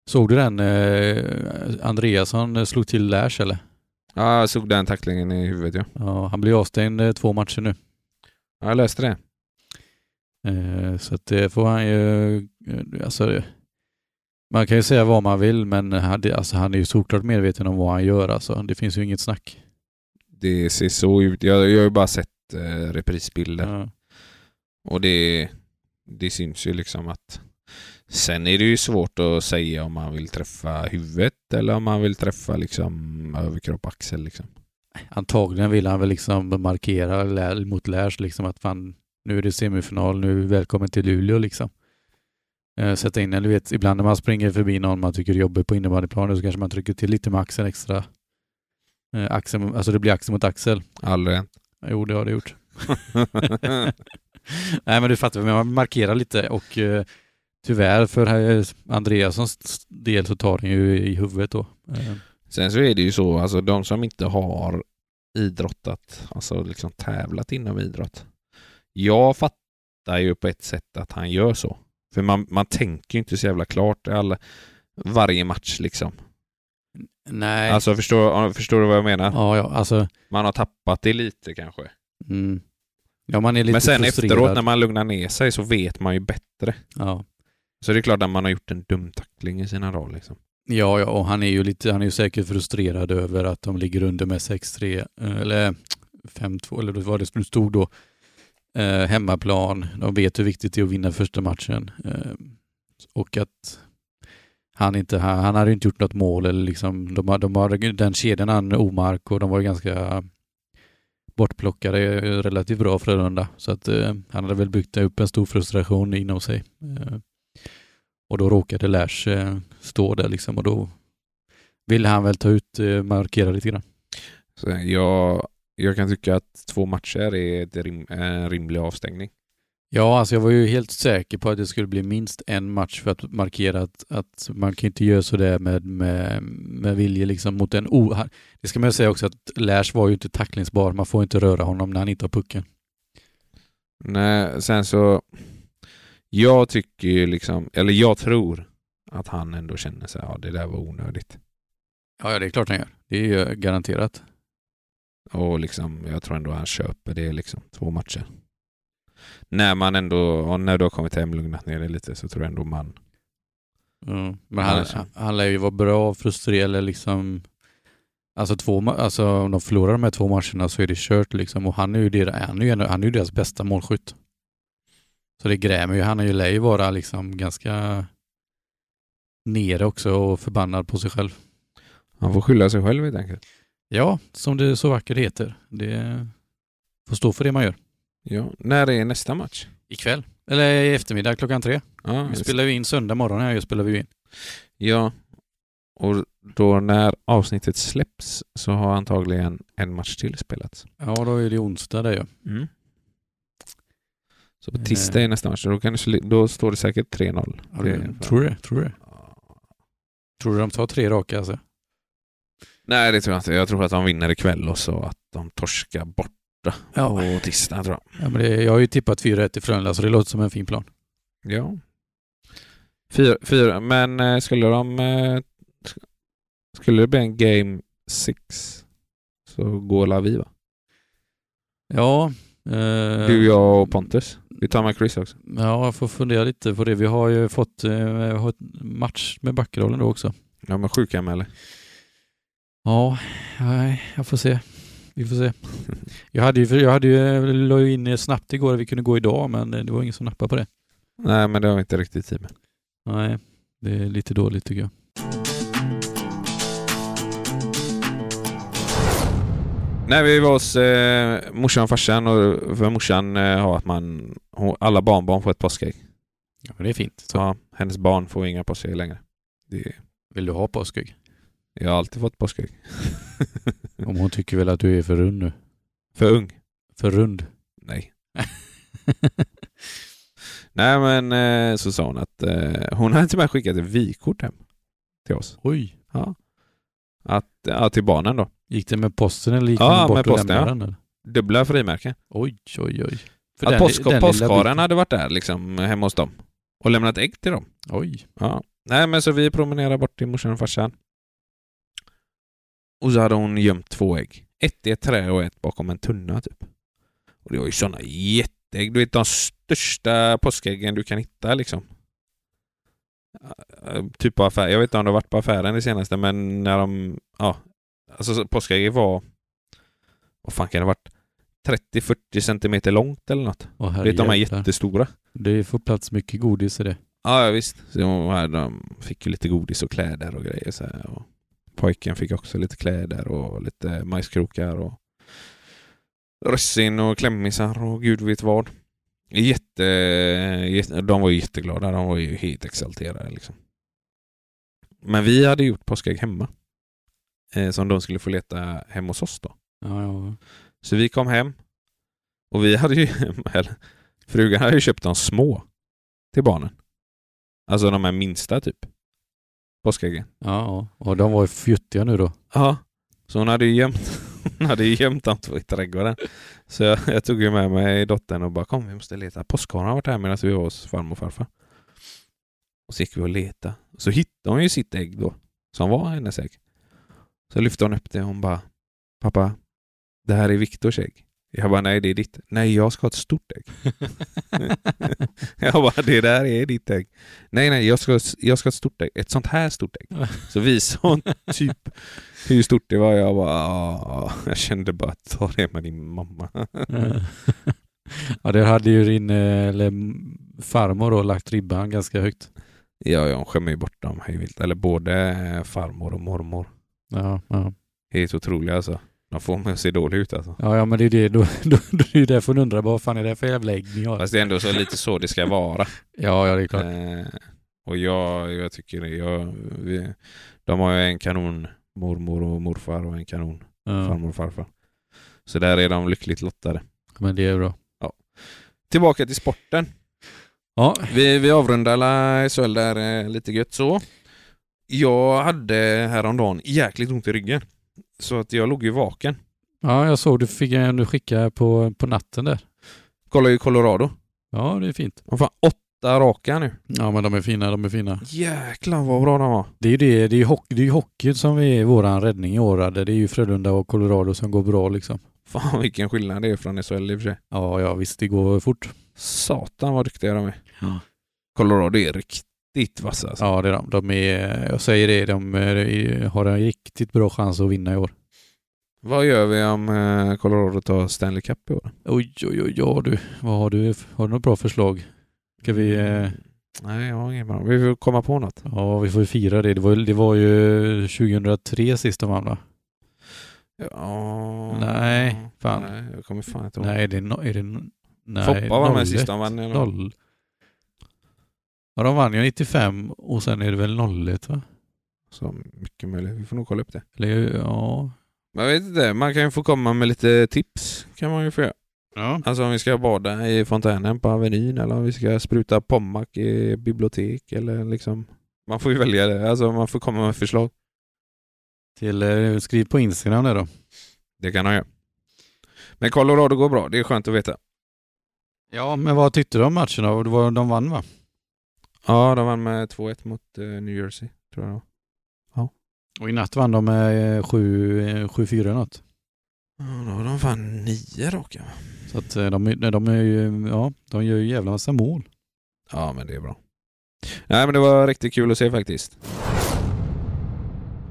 Speaker 1: Såg du den? Eh, Andreasson eh, slog till Lash eller?
Speaker 2: Ja, jag såg den tacklingen i huvudet ja.
Speaker 1: Ja, han blir avstängd eh, två matcher nu.
Speaker 2: Ja, Jag löste det.
Speaker 1: Eh, Så att det får han ju... eh, Alltså, det- man kan ju säga vad man vill men han- det- alltså, han är ju såklart medveten om vad han gör alltså. Det finns ju inget snack.
Speaker 2: Det ser så ut. Jag, jag har ju bara sett eh, reprisbilder.
Speaker 1: Ja.
Speaker 2: Och det, det syns ju liksom att... Sen är det ju svårt att säga om man vill träffa huvudet eller om man vill träffa liksom överkropp, axel liksom.
Speaker 1: Antagligen vill han väl liksom markera lä- mot Lärs liksom att fan, nu är det semifinal, nu välkommen till Luleå liksom. Eh, Sätta in en, du vet, ibland när man springer förbi någon man tycker är jobbig på innebandyplanen så kanske man trycker till lite med axeln extra. Eh, Axeln, alltså det blir axel mot axel.
Speaker 2: Aldrig hänt.
Speaker 1: Jo, det har det gjort. Nej, men du fattar, men man markerar lite och eh, tyvärr för herr Andreassons del så tar den ju i huvudet då. Eh,
Speaker 2: Sen så är det ju så, alltså de som inte har idrottat, alltså liksom tävlat inom idrott. Jag fattar ju på ett sätt att han gör så. För man, man tänker ju inte så jävla klart i alla, varje match liksom.
Speaker 1: Nej.
Speaker 2: Alltså förstår, förstår du vad jag menar?
Speaker 1: ja, ja, alltså.
Speaker 2: Man har tappat det lite kanske.
Speaker 1: Mm. Ja, man är lite
Speaker 2: Men sen
Speaker 1: frustrerad.
Speaker 2: efteråt när man lugnar ner sig så vet man ju bättre.
Speaker 1: Ja.
Speaker 2: Så det är klart att man har gjort en dum tackling i sina roll liksom.
Speaker 1: Ja, ja, och han är ju lite, han är ju säkert frustrerad över att de ligger under med 6-3, eh, eller 5-2, eller vad det nu stod då. Eh, hemmaplan, de vet hur viktigt det är att vinna första matchen. Eh, och att han inte, han, han hade ju inte gjort något mål eller liksom, de, har- de har, den kedjan han, Omark och de var ju ganska bortplockade eh, relativt bra Frölunda. Så att eh, han hade väl byggt upp en stor frustration inom sig. Eh, och då råkade Lash eh, stå där liksom och då ville han väl ta ut, eh, markera lite grann.
Speaker 2: Så jag, jag kan tycka att två matcher är ett rim, en rimlig avstängning.
Speaker 1: Ja, alltså jag var ju helt säker på att det skulle bli minst en match för att markera att, att man kan inte göra sådär med, med, med vilje liksom mot en o... han- Det ska man ju säga också att Lash var ju inte tacklingsbar. Man får inte röra honom när han inte har pucken.
Speaker 2: Nej, sen så... Jag tycker ju liksom, eller jag tror att han ändå känner sig, ja det där var onödigt.
Speaker 1: Ja, ja, det är klart han gör. Det är ju garanterat.
Speaker 2: Och liksom, jag tror ändå han köper det liksom, två matcher. När man ändå, och när du har kommit hem, lugnat ner dig lite, så tror jag ändå man
Speaker 1: Mm. Men han,
Speaker 2: Alltså.
Speaker 1: han lär ju vara bra och frustrerad eller liksom... Alltså, två, ma- alltså om de förlorar de här två matcherna så är det kört liksom. Och han är ju deras, han är ju, en- han är ju deras bästa målskytt. Så det grämer ju. Han är ju lär ju vara liksom ganska nere också och förbannad på sig själv.
Speaker 2: Han får skylla sig själv helt enkelt.
Speaker 1: Ja, som det så vackert heter. Det får stå för det man gör.
Speaker 2: Ja. När är nästa match?
Speaker 1: Ikväll. Eller i eftermiddag klockan tre.
Speaker 2: Ja,
Speaker 1: Vi spelar ju in söndag morgon här. ju, Spelar vi ju in.
Speaker 2: ja. Och då när avsnittet släpps så har antagligen en match till spelats.
Speaker 1: Ja, då är det onsdag där ju.
Speaker 2: Så på tisdag är nästa match. Då, kan det, sli- då står det säkert 3-0.
Speaker 1: Eh. Ja,
Speaker 2: Det
Speaker 1: det,
Speaker 2: är fan-
Speaker 1: tror du det? Tror du det? Tror du de tar tre raka alltså?
Speaker 2: Nej, det tror jag inte. Jag tror att de vinner ikväll och så att de torskar bort
Speaker 1: Ja.
Speaker 2: på tisdag tror jag.
Speaker 1: ja men det, jag har ju tippat 4-1 till Frölunda så det låter som en fin plan.
Speaker 2: Ja. Fyra, fyra. Men eh, skulle de... eh, sk- Skulle det bli en game 6 så går la vi va?
Speaker 1: Ja. Eh,
Speaker 2: Du, jag och Pontus. Vi tar med Chris också.
Speaker 1: Ja, jag får fundera lite på det. Vi har ju fått eh, jag har ett match med backrollen då också.
Speaker 2: Ja, men sjuka med eller?
Speaker 1: Ja, nej, jag får se. Vi får se. Jag hade ju, jag hade ju, jag la ju in snabbt igår att vi kunde gå idag men eh, det var ingen som nappade på det.
Speaker 2: Nej, men det har vi inte riktigt tid med.
Speaker 1: Nej, det är lite dåligt tycker jag.
Speaker 2: Nej, vi var hos eh, morsan och farsan och för morsan eh, har att man... Hon, alla barnbarn får ett påskägg.
Speaker 1: Ja, men det är fint. Så,
Speaker 2: Ja, hennes barn får inga påskägg längre. Det,
Speaker 1: Vill du ha påskägg?
Speaker 2: jag har alltid fått påskägg.
Speaker 1: Om hon tycker väl att du är för rund nu.
Speaker 2: För ung?
Speaker 1: För rund.
Speaker 2: Nej. Nej, men eh, så sa hon att eh, hon hade till och med skickat ett vykort hem till oss.
Speaker 1: Oj.
Speaker 2: Att, ja, till barnen då.
Speaker 1: Gick det med posten eller gick
Speaker 2: Ja,
Speaker 1: man bort
Speaker 2: med
Speaker 1: och
Speaker 2: posten,
Speaker 1: lämnade
Speaker 2: ja.
Speaker 1: den? Eller?
Speaker 2: Dubbla frimärken.
Speaker 1: Oj, oj, oj. För
Speaker 2: att
Speaker 1: den-
Speaker 2: påsk,
Speaker 1: den lilla
Speaker 2: påskharen
Speaker 1: biten-
Speaker 2: hade varit där liksom, hemma hos dem och lämnat ägg till dem.
Speaker 1: Oj.
Speaker 2: Ja. Nej, men så vi promenerade bort till morsan och farsan. Och så hade hon gömt två ägg. Ett i ett trä och ett bakom en tunna typ. Och det var ju sådana jätteägg. Du vet de största påskäggen du kan hitta liksom. Äh, Typ på affär. Jag vet inte om du har varit på affären det senaste men när de... Ja. Alltså så- påskägget var... Vad fan kan det ha varit? 30-40 centimeter långt eller något.
Speaker 1: Åh,
Speaker 2: Du vet de här
Speaker 1: herrejävlar.
Speaker 2: jättestora.
Speaker 1: Det får plats mycket godis i det.
Speaker 2: Ja, ja visst. Så hon var- de fick ju lite godis och kläder och grejer. Så här. Och pojken fick också lite kläder och lite majskrokar och russin och klämmisar och gud vet vad. Jätte, jätte, de var ju jätteglada. De var ju helt exalterade. Liksom. Men vi hade gjort påskägg hemma. Eh, som de skulle få leta hemma hos oss då.
Speaker 1: Ja, ja.
Speaker 2: Så vi kom hem och vi hade ju, eller, frugan hade ju köpt de små till barnen. Alltså de här minsta typ. Påskäggen.
Speaker 1: ja. ja. Och de var ju fjuttiga nu då.
Speaker 2: Ja. Så hon hade ju gömt, hon hade ju gömt dem två i trädgården. Så jag, jag tog ju med mig dottern och bara kom vi måste leta. Påskharen har varit här medan vi var hos farmor och farfar. Och så gick vi och letade. Så hittade hon ju sitt ägg då. Som var hennes ägg. Så lyfte hon upp det och hon bara Pappa, det här är Viktors ägg. Jag bara nej det är ditt. Nej jag ska ha ett stort ägg. Jag bara, det där är ditt ägg. Nej, nej, jag ska, jag ska ha ett stort ägg. Ett sånt här stort ägg. Så visade hon typ hur stort det var. Jag bara, "Ah." jag kände bara, ta det med din mamma.
Speaker 1: ja, det hade ju din eh, eller, m- farmor då lagt ribban ganska högt.
Speaker 2: Ja, ja, hon skämmer ju bort dem hej vilt. Eller både farmor och mormor.
Speaker 1: Ja, ja.
Speaker 2: Helt otroliga alltså. De får mig att se dålig ut alltså.
Speaker 1: ja, ja men det är ju det. Då, då, då är det ju därför hon undrar vad fan är det för jävla ägg ni har?
Speaker 2: Fast det är ändå så lite så det ska vara.
Speaker 1: Ja, ja det är klart.
Speaker 2: Eh, och jag, jag tycker det. Jag, vi, de har ju en kanon, mormor och morfar och en kanon,
Speaker 1: Ja,
Speaker 2: farmor och farfar. Så där är de lyckligt lottade.
Speaker 1: men det är bra.
Speaker 2: Tillbaka till sporten.
Speaker 1: Ja,
Speaker 2: Vi, vi avrundar alla SHL där eh, lite gött så. Jag hade häromdagen jäkligt ont i ryggen. Så att jag låg ju vaken.
Speaker 1: ja jag såg du fick en du skickade på, på natten där.
Speaker 2: Kollar ju Colorado.
Speaker 1: Ja, det är fint.
Speaker 2: De fan åtta raka nu.
Speaker 1: Ja, men de är fina, de är fina.
Speaker 2: Jäklar vad bra de var.
Speaker 1: Det är ju det, det är ju hockey, det är ju hockeyn som är våran räddning i år. Det är ju Frölunda och Colorado som går bra liksom.
Speaker 2: Fan vilken skillnad det är från SHL i och för sig.
Speaker 1: Ja, ja visst, det går fort.
Speaker 2: Satan vad duktiga de är.
Speaker 1: Ja.
Speaker 2: Colorado är riktigt vassa alltså.
Speaker 1: Ja, det är de. de är, jag säger det, de är, har en riktigt bra chans att vinna i år.
Speaker 2: Vad gör vi om eh, Colorado tar Stanley Cup i år?
Speaker 1: Oj, oj, oj, ja du. Vad har du? Har du något bra förslag? Ska vi... eh,
Speaker 2: Nej, jag har ingen bra. Vi får komma på något.
Speaker 1: Ja, vi får ju fira det. Det var, ju- det var ju 2003 sist de vann va?
Speaker 2: Ja.
Speaker 1: Nej, fan.
Speaker 2: Nej, jag kommer fan inte ihåg.
Speaker 1: Nej, det är, no, är det... No, nej,
Speaker 2: Foppa var med
Speaker 1: 01.
Speaker 2: sist de vann. Eller?
Speaker 1: Noll. Ja, de vann ju 95 och sen är det väl 01 va?
Speaker 2: Så mycket möjligt. Vi får nog kolla upp det.
Speaker 1: Eller ja...
Speaker 2: Men jag vet inte. Man kan ju få komma med lite tips. Kan man ju få göra.
Speaker 1: Ja.
Speaker 2: Alltså om vi ska bada i fontänen på Avenyn eller om vi ska spruta pommack i bibliotek eller liksom. Man får ju välja det. Alltså man får komma med förslag.
Speaker 1: Till, eh, skriv på Instagram där då.
Speaker 2: Det kan man göra. Men Colorado går bra. Det är skönt att veta.
Speaker 1: Ja, men vad tyckte du om matchen då? Det var- De vann va?
Speaker 2: Ja, de vann med 2-1 mot eh, New Jersey. Tror jag det var.
Speaker 1: Och i natt vann de med eh, sju- eh, 7-4 något.
Speaker 2: Ja, då har de fan nio raka. va?
Speaker 1: Så att eh, de, är- nej, de, är ju, ja, de gör ju jävla massa mål.
Speaker 2: Ja, men det är bra. Nej, men det var riktigt kul att se faktiskt.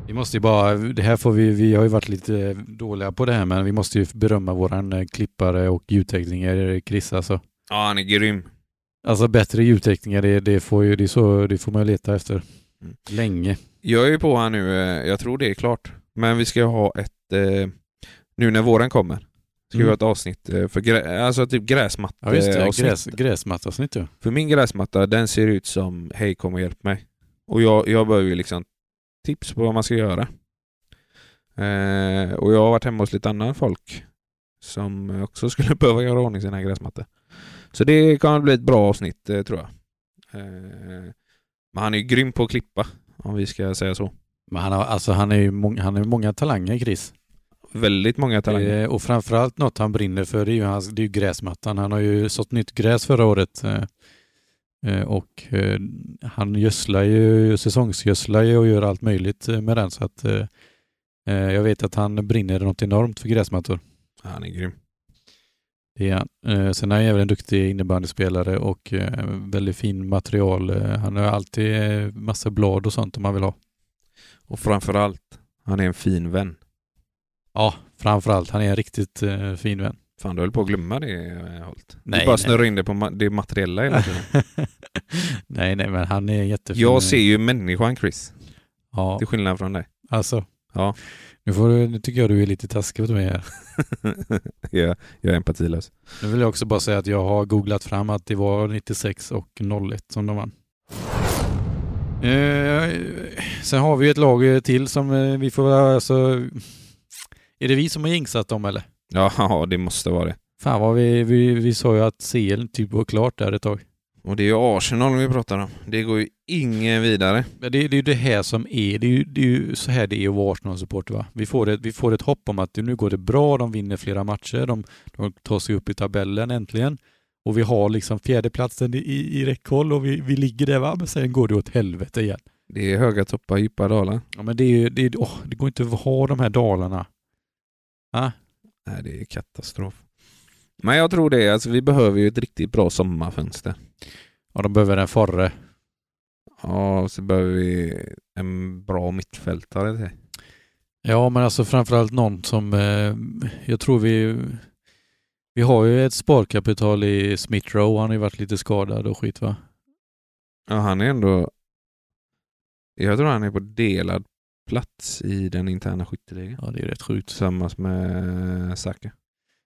Speaker 1: Vi måste ju bara, det här får vi, vi har ju varit lite eh, dåliga på det här men vi måste ju berömma våran eh, klippare och ljudtekniker Chris alltså.
Speaker 2: Ja, han är grym.
Speaker 1: Alltså bättre ljudtekniker, det, det får ju, det är så, det får man ju leta efter.
Speaker 2: Mm.
Speaker 1: Länge.
Speaker 2: Jag är ju på här nu, eh, jag tror det är klart. Men vi ska ha ett eh, Nu när våren kommer. Ska vi
Speaker 1: Mm.
Speaker 2: ha ett avsnitt eh, för grä, alltså typ gräsmatta
Speaker 1: Ja, just det.
Speaker 2: avsnitt.
Speaker 1: Gräs, gräsmattavsnitt ja.
Speaker 2: För min gräsmatta, den ser ut som Hej kom och hjälp mig. Och jag, jag behöver ju liksom tips på vad man ska göra. Eh, och jag har varit hemma hos lite annan folk som också skulle behöva göra ordning sina gräsmattor. Så det kommer bli ett bra avsnitt eh, tror jag. Eh, men han är ju grym på att klippa, om vi ska säga så.
Speaker 1: Men han har, alltså, han är ju mång, han har ju många talanger, Chris.
Speaker 2: Väldigt många talanger.
Speaker 1: Eh, och framförallt något han brinner för, det är ju, hans, det är ju gräsmattan. Han har ju sått nytt gräs förra året. Eh, eh, och eh, han gödslar ju, säsongsgödslar ju och gör allt möjligt eh, med den. Så att eh, eh, jag vet att han brinner något enormt för gräsmattor.
Speaker 2: Han är grym.
Speaker 1: Det är han. Eh, sen är han även en duktig innebandyspelare och eh, väldigt fin material. Eh, han har alltid eh, massa blad och sånt om man vill ha.
Speaker 2: Och framförallt, han är en fin vän.
Speaker 1: Ja, framförallt. Han är en riktigt eh, fin vän.
Speaker 2: Fan, du höll på att glömma det, eh, Holt.
Speaker 1: Nej,
Speaker 2: du bara
Speaker 1: nej.
Speaker 2: snurrar in det på ma- det materiella hela tiden.
Speaker 1: nej, nej, men han är jättefin.
Speaker 2: Jag ser ju människan Chris,
Speaker 1: Ja,
Speaker 2: till skillnad från dig.
Speaker 1: alltså.
Speaker 2: Ja.
Speaker 1: Nu, får du, nu tycker jag du är lite taskig mot mig här.
Speaker 2: jag, jag är empatilös.
Speaker 1: Nu vill jag också bara säga att jag har googlat fram att det var 96 och 01 som de vann. Eh, sen har vi ett lag eh, till som eh, vi får väl alltså... Är det vi som har jinxat dem eller?
Speaker 2: Ja, det måste vara det.
Speaker 1: Fan vad vi, vi, vi sa ju att CL typ var klart där ett tag.
Speaker 2: Och det är ju Arsenal vi pratar om. Det går ju ingen vidare.
Speaker 1: Men det, det är ju det här som är, det är ju, det är ju så här det är att vara Arsenal-supporter va. Vi får, ett, vi får ett hopp om att nu går det bra, de vinner flera matcher, de, de tar sig upp i tabellen äntligen. Och vi har liksom fjärdeplatsen i, i i räckhåll och vi, vi ligger där va, men sen går det åt helvete igen.
Speaker 2: Det är höga toppar, djupa dalar.
Speaker 1: Ja men det är ju, det, är, åh, det går inte att ha de här dalarna.
Speaker 2: Nej, det är katastrof. Men jag tror det. Alltså, vi behöver ju ett riktigt bra sommarfönster.
Speaker 1: Ja de behöver en forre.
Speaker 2: Ja, och så behöver vi en bra mittfältare till.
Speaker 1: Ja men alltså framförallt någon som, eh, jag tror vi, vi har ju ett sparkapital i Smith Rowe, han har ju varit lite skadad och skit va.
Speaker 2: Ja, han är ändå... Jag tror han är på delad plats i den interna skytteligan.
Speaker 1: Ja det är ju rätt sjukt.
Speaker 2: Tillsammans med Saka.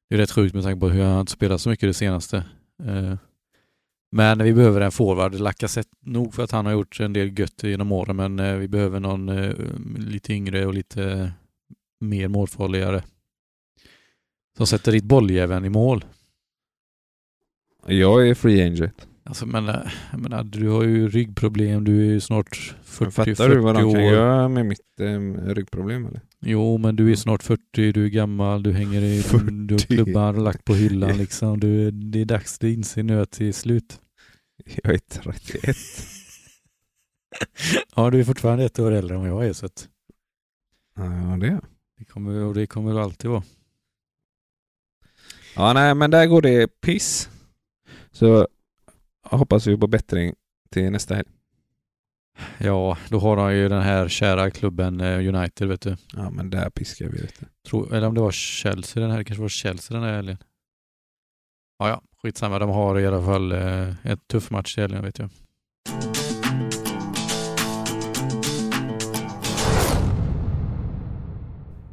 Speaker 1: Det är rätt sjukt med tanke på hur han inte spelat så mycket det senaste. Eh, Men vi behöver en forward. Lacazette nog för att han har gjort en del gött genom åren men eh, vi behöver någon eh, lite yngre och lite mer målfarligare. Som sätter dit bolljäveln i mål.
Speaker 2: Jag är free agent.
Speaker 1: Alltså, men, eh, jag menar, du har ju ryggproblem, du är ju snart
Speaker 2: Men
Speaker 1: 40,
Speaker 2: fattar du vad
Speaker 1: 40
Speaker 2: de
Speaker 1: år.
Speaker 2: kan göra Mm. med mitt eh, ryggproblem eller?
Speaker 1: Jo, men du är snart 40, du är gammal, du hänger i
Speaker 2: 40.
Speaker 1: du har klubban lagt på hyllan liksom. Du, är- det är dags, det inser nu att det är slut.
Speaker 2: Jag är 31.
Speaker 1: Ja, du är fortfarande ett år äldre än vad jag är så att
Speaker 2: ja, det är jag.
Speaker 1: det kommer, och det kommer det alltid vara.
Speaker 2: Ja, nej, men där går det piss. Så hoppas vi på bättring till nästa helg.
Speaker 1: Ja, då har han ju den här kära klubben eh, United vet du.
Speaker 2: Ja, men där piskar vi vet du.
Speaker 1: Tror, eller om det var Chelsea den här, det kanske var Chelsea den här helgen. Ja, ja, skitsamma. De har i alla fall eh, en tuff match i helgen vet jag.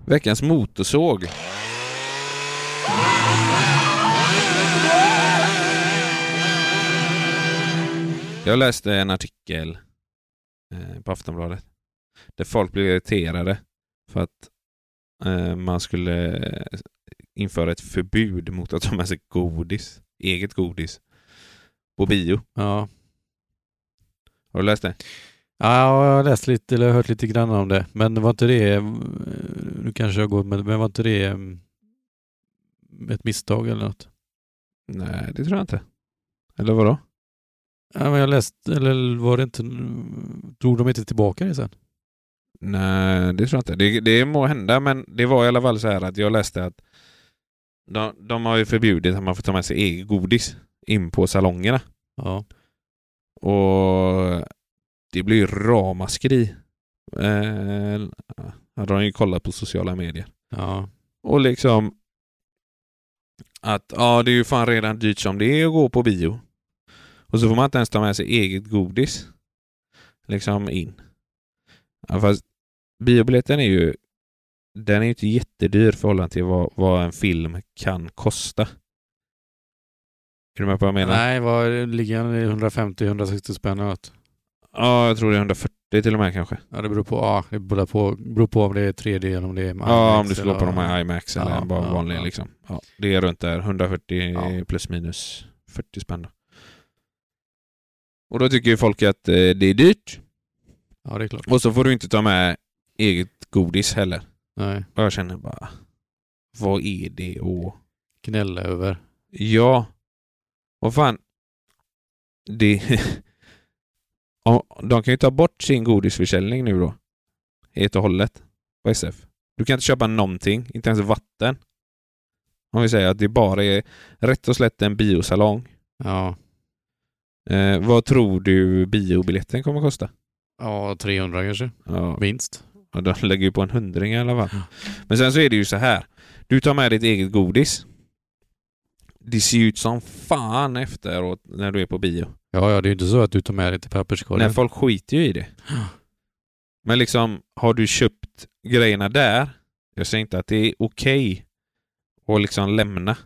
Speaker 2: Veckans motorsåg. Jag läste en artikel eh, på Aftonbladet där folk blev irriterade för att eh, man skulle eh, införa ett förbud mot att ta med sig godis, eget godis, på bio.
Speaker 1: Ja,
Speaker 2: Har du läst det?
Speaker 1: ja jag har läst lite eller hört lite grann om det. Men var inte det, eh, nu kanske jag går, men men var inte det eh, ett misstag eller något?
Speaker 2: Nej, det tror jag inte. Eller vadå?
Speaker 1: Ja, men jag läste, eller var det inte, drog de inte tillbaka det sen?
Speaker 2: Nej, det tror jag inte. Det, det må hända, men det var i alla fall så här att jag läste att de, de har ju förbjudit att man får ta med sig eget godis in på salongerna.
Speaker 1: Ja.
Speaker 2: Och det blir ju ramaskri. Eh, hade de ju kollat på sociala medier.
Speaker 1: Ja.
Speaker 2: Och liksom att ja, det är ju fan redan dyrt som det är att gå på bio. Och så får man inte ens ta med sig eget godis. Liksom in. Ja, fast biobiljetten är ju den är ju inte jättedyr i förhållande till vad, vad en film kan kosta. Är du med på vad jag menar?
Speaker 1: Nej, vad ligger den i 150-160 spänn åt?
Speaker 2: Ja, jag tror det är 140 till och med kanske.
Speaker 1: Ja, det beror på, ja, det beror på, beror på om det är 3D eller om det är med
Speaker 2: ja,
Speaker 1: IMAX
Speaker 2: om du slår
Speaker 1: eller-
Speaker 2: på de här IMAX eller
Speaker 1: Ja,
Speaker 2: bara
Speaker 1: ja,
Speaker 2: vanlig
Speaker 1: ja.
Speaker 2: liksom. Ja, det är runt där, 140
Speaker 1: Ja.
Speaker 2: plus minus 40 spänn då. Och då tycker ju folk att eh, det är dyrt.
Speaker 1: Ja, det är klart.
Speaker 2: Och så får du inte ta med eget godis heller.
Speaker 1: Nej,
Speaker 2: Och jag känner bara, vad är det och
Speaker 1: gnälla över.
Speaker 2: Ja. Vad fan. Det... Ja, De kan ju ta bort sin godisförsäljning nu då. Helt och hållet. På SF. Du kan inte köpa någonting. Inte ens vatten. Om vi säger att det bara är rätt och slätt en biosalong.
Speaker 1: Ja,
Speaker 2: Eh, vad tror du biobiljetten kommer kosta?
Speaker 1: ja 300 kanske.
Speaker 2: Ja,
Speaker 1: Minst.
Speaker 2: Ja, de lägger ju på en hundring i alla fall. Men sen så är det ju så här. Du tar med ditt eget godis. Det ser ju ut som fan efteråt när du är på bio.
Speaker 1: Ja, ja, det är ju inte så att du tar med dig till
Speaker 2: Nej,
Speaker 1: papperskorgen.
Speaker 2: folk skiter ju i det. Men liksom, har du köpt grejerna där? Jag säger inte att det är okej att liksom lämna.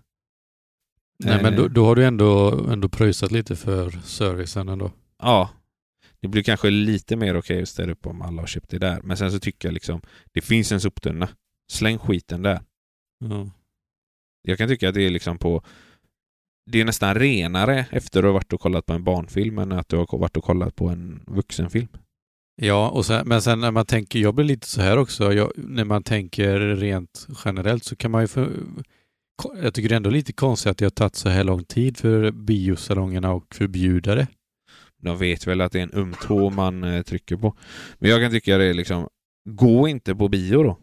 Speaker 1: Nej, men
Speaker 2: Eh,
Speaker 1: då, då har du ändå, ändå pröjsat lite för servicen ändå.
Speaker 2: Ja. Det blir kanske lite mer okej att ställa upp om alla har köpt det där. Men sen så tycker jag liksom, det finns en soptunna. Släng skiten där.
Speaker 1: Ja.
Speaker 2: Jag kan tycka att det är liksom på... Det är nästan renare efter att du har varit och kollat på en barnfilm än att du har varit och kollat på en vuxenfilm.
Speaker 1: Ja, och sen, men sen när man tänker, jag blir lite så här också, jag, när man tänker rent generellt så kan man ju för, ko- jag tycker det är ändå lite konstigt att det har tagit så här lång tid för biosalongerna och förbjuda det.
Speaker 2: De vet väl att det är en öm tå man eh, trycker på. Men jag kan tycka det är liksom, gå inte på bio då.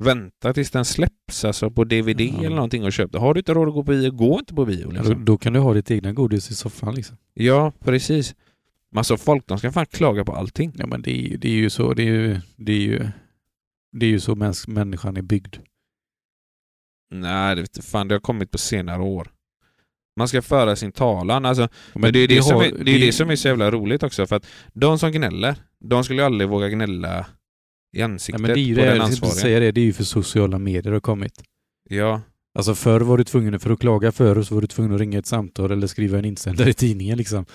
Speaker 2: Vänta tills den släpps, alltså på DVD
Speaker 1: Ja.
Speaker 2: eller någonting och köp det. Har du inte råd att gå på bio, gå inte på bio.
Speaker 1: Då,
Speaker 2: Liksom.
Speaker 1: då kan du ha ditt egna godis i soffan liksom.
Speaker 2: Ja, precis. Men alltså folk, de ska fan klaga på allting.
Speaker 1: Ja, men det är, ju- det är ju så, det är ju, det är ju, det är ju så mäns, människan är byggd.
Speaker 2: Nej, det, vet du fan, det har kommit på senare år. Man ska föra sin talan. Alltså,
Speaker 1: Men,
Speaker 2: Men det är ju det, som,
Speaker 1: har-
Speaker 2: är, det, är ju det som är så jävla roligt också, för att de som gnäller, de skulle ju aldrig våga gnälla i
Speaker 1: Nej,
Speaker 2: ansiktet
Speaker 1: men det är ju
Speaker 2: på
Speaker 1: det,
Speaker 2: den
Speaker 1: jag skulle
Speaker 2: ansvariga.
Speaker 1: säga det, det är ju för sociala medier har kommit.
Speaker 2: Ja,
Speaker 1: Alltså förr var du tvungen, för att klaga förr så var du tvungen att ringa ett samtal eller skriva en insändare i tidningen liksom.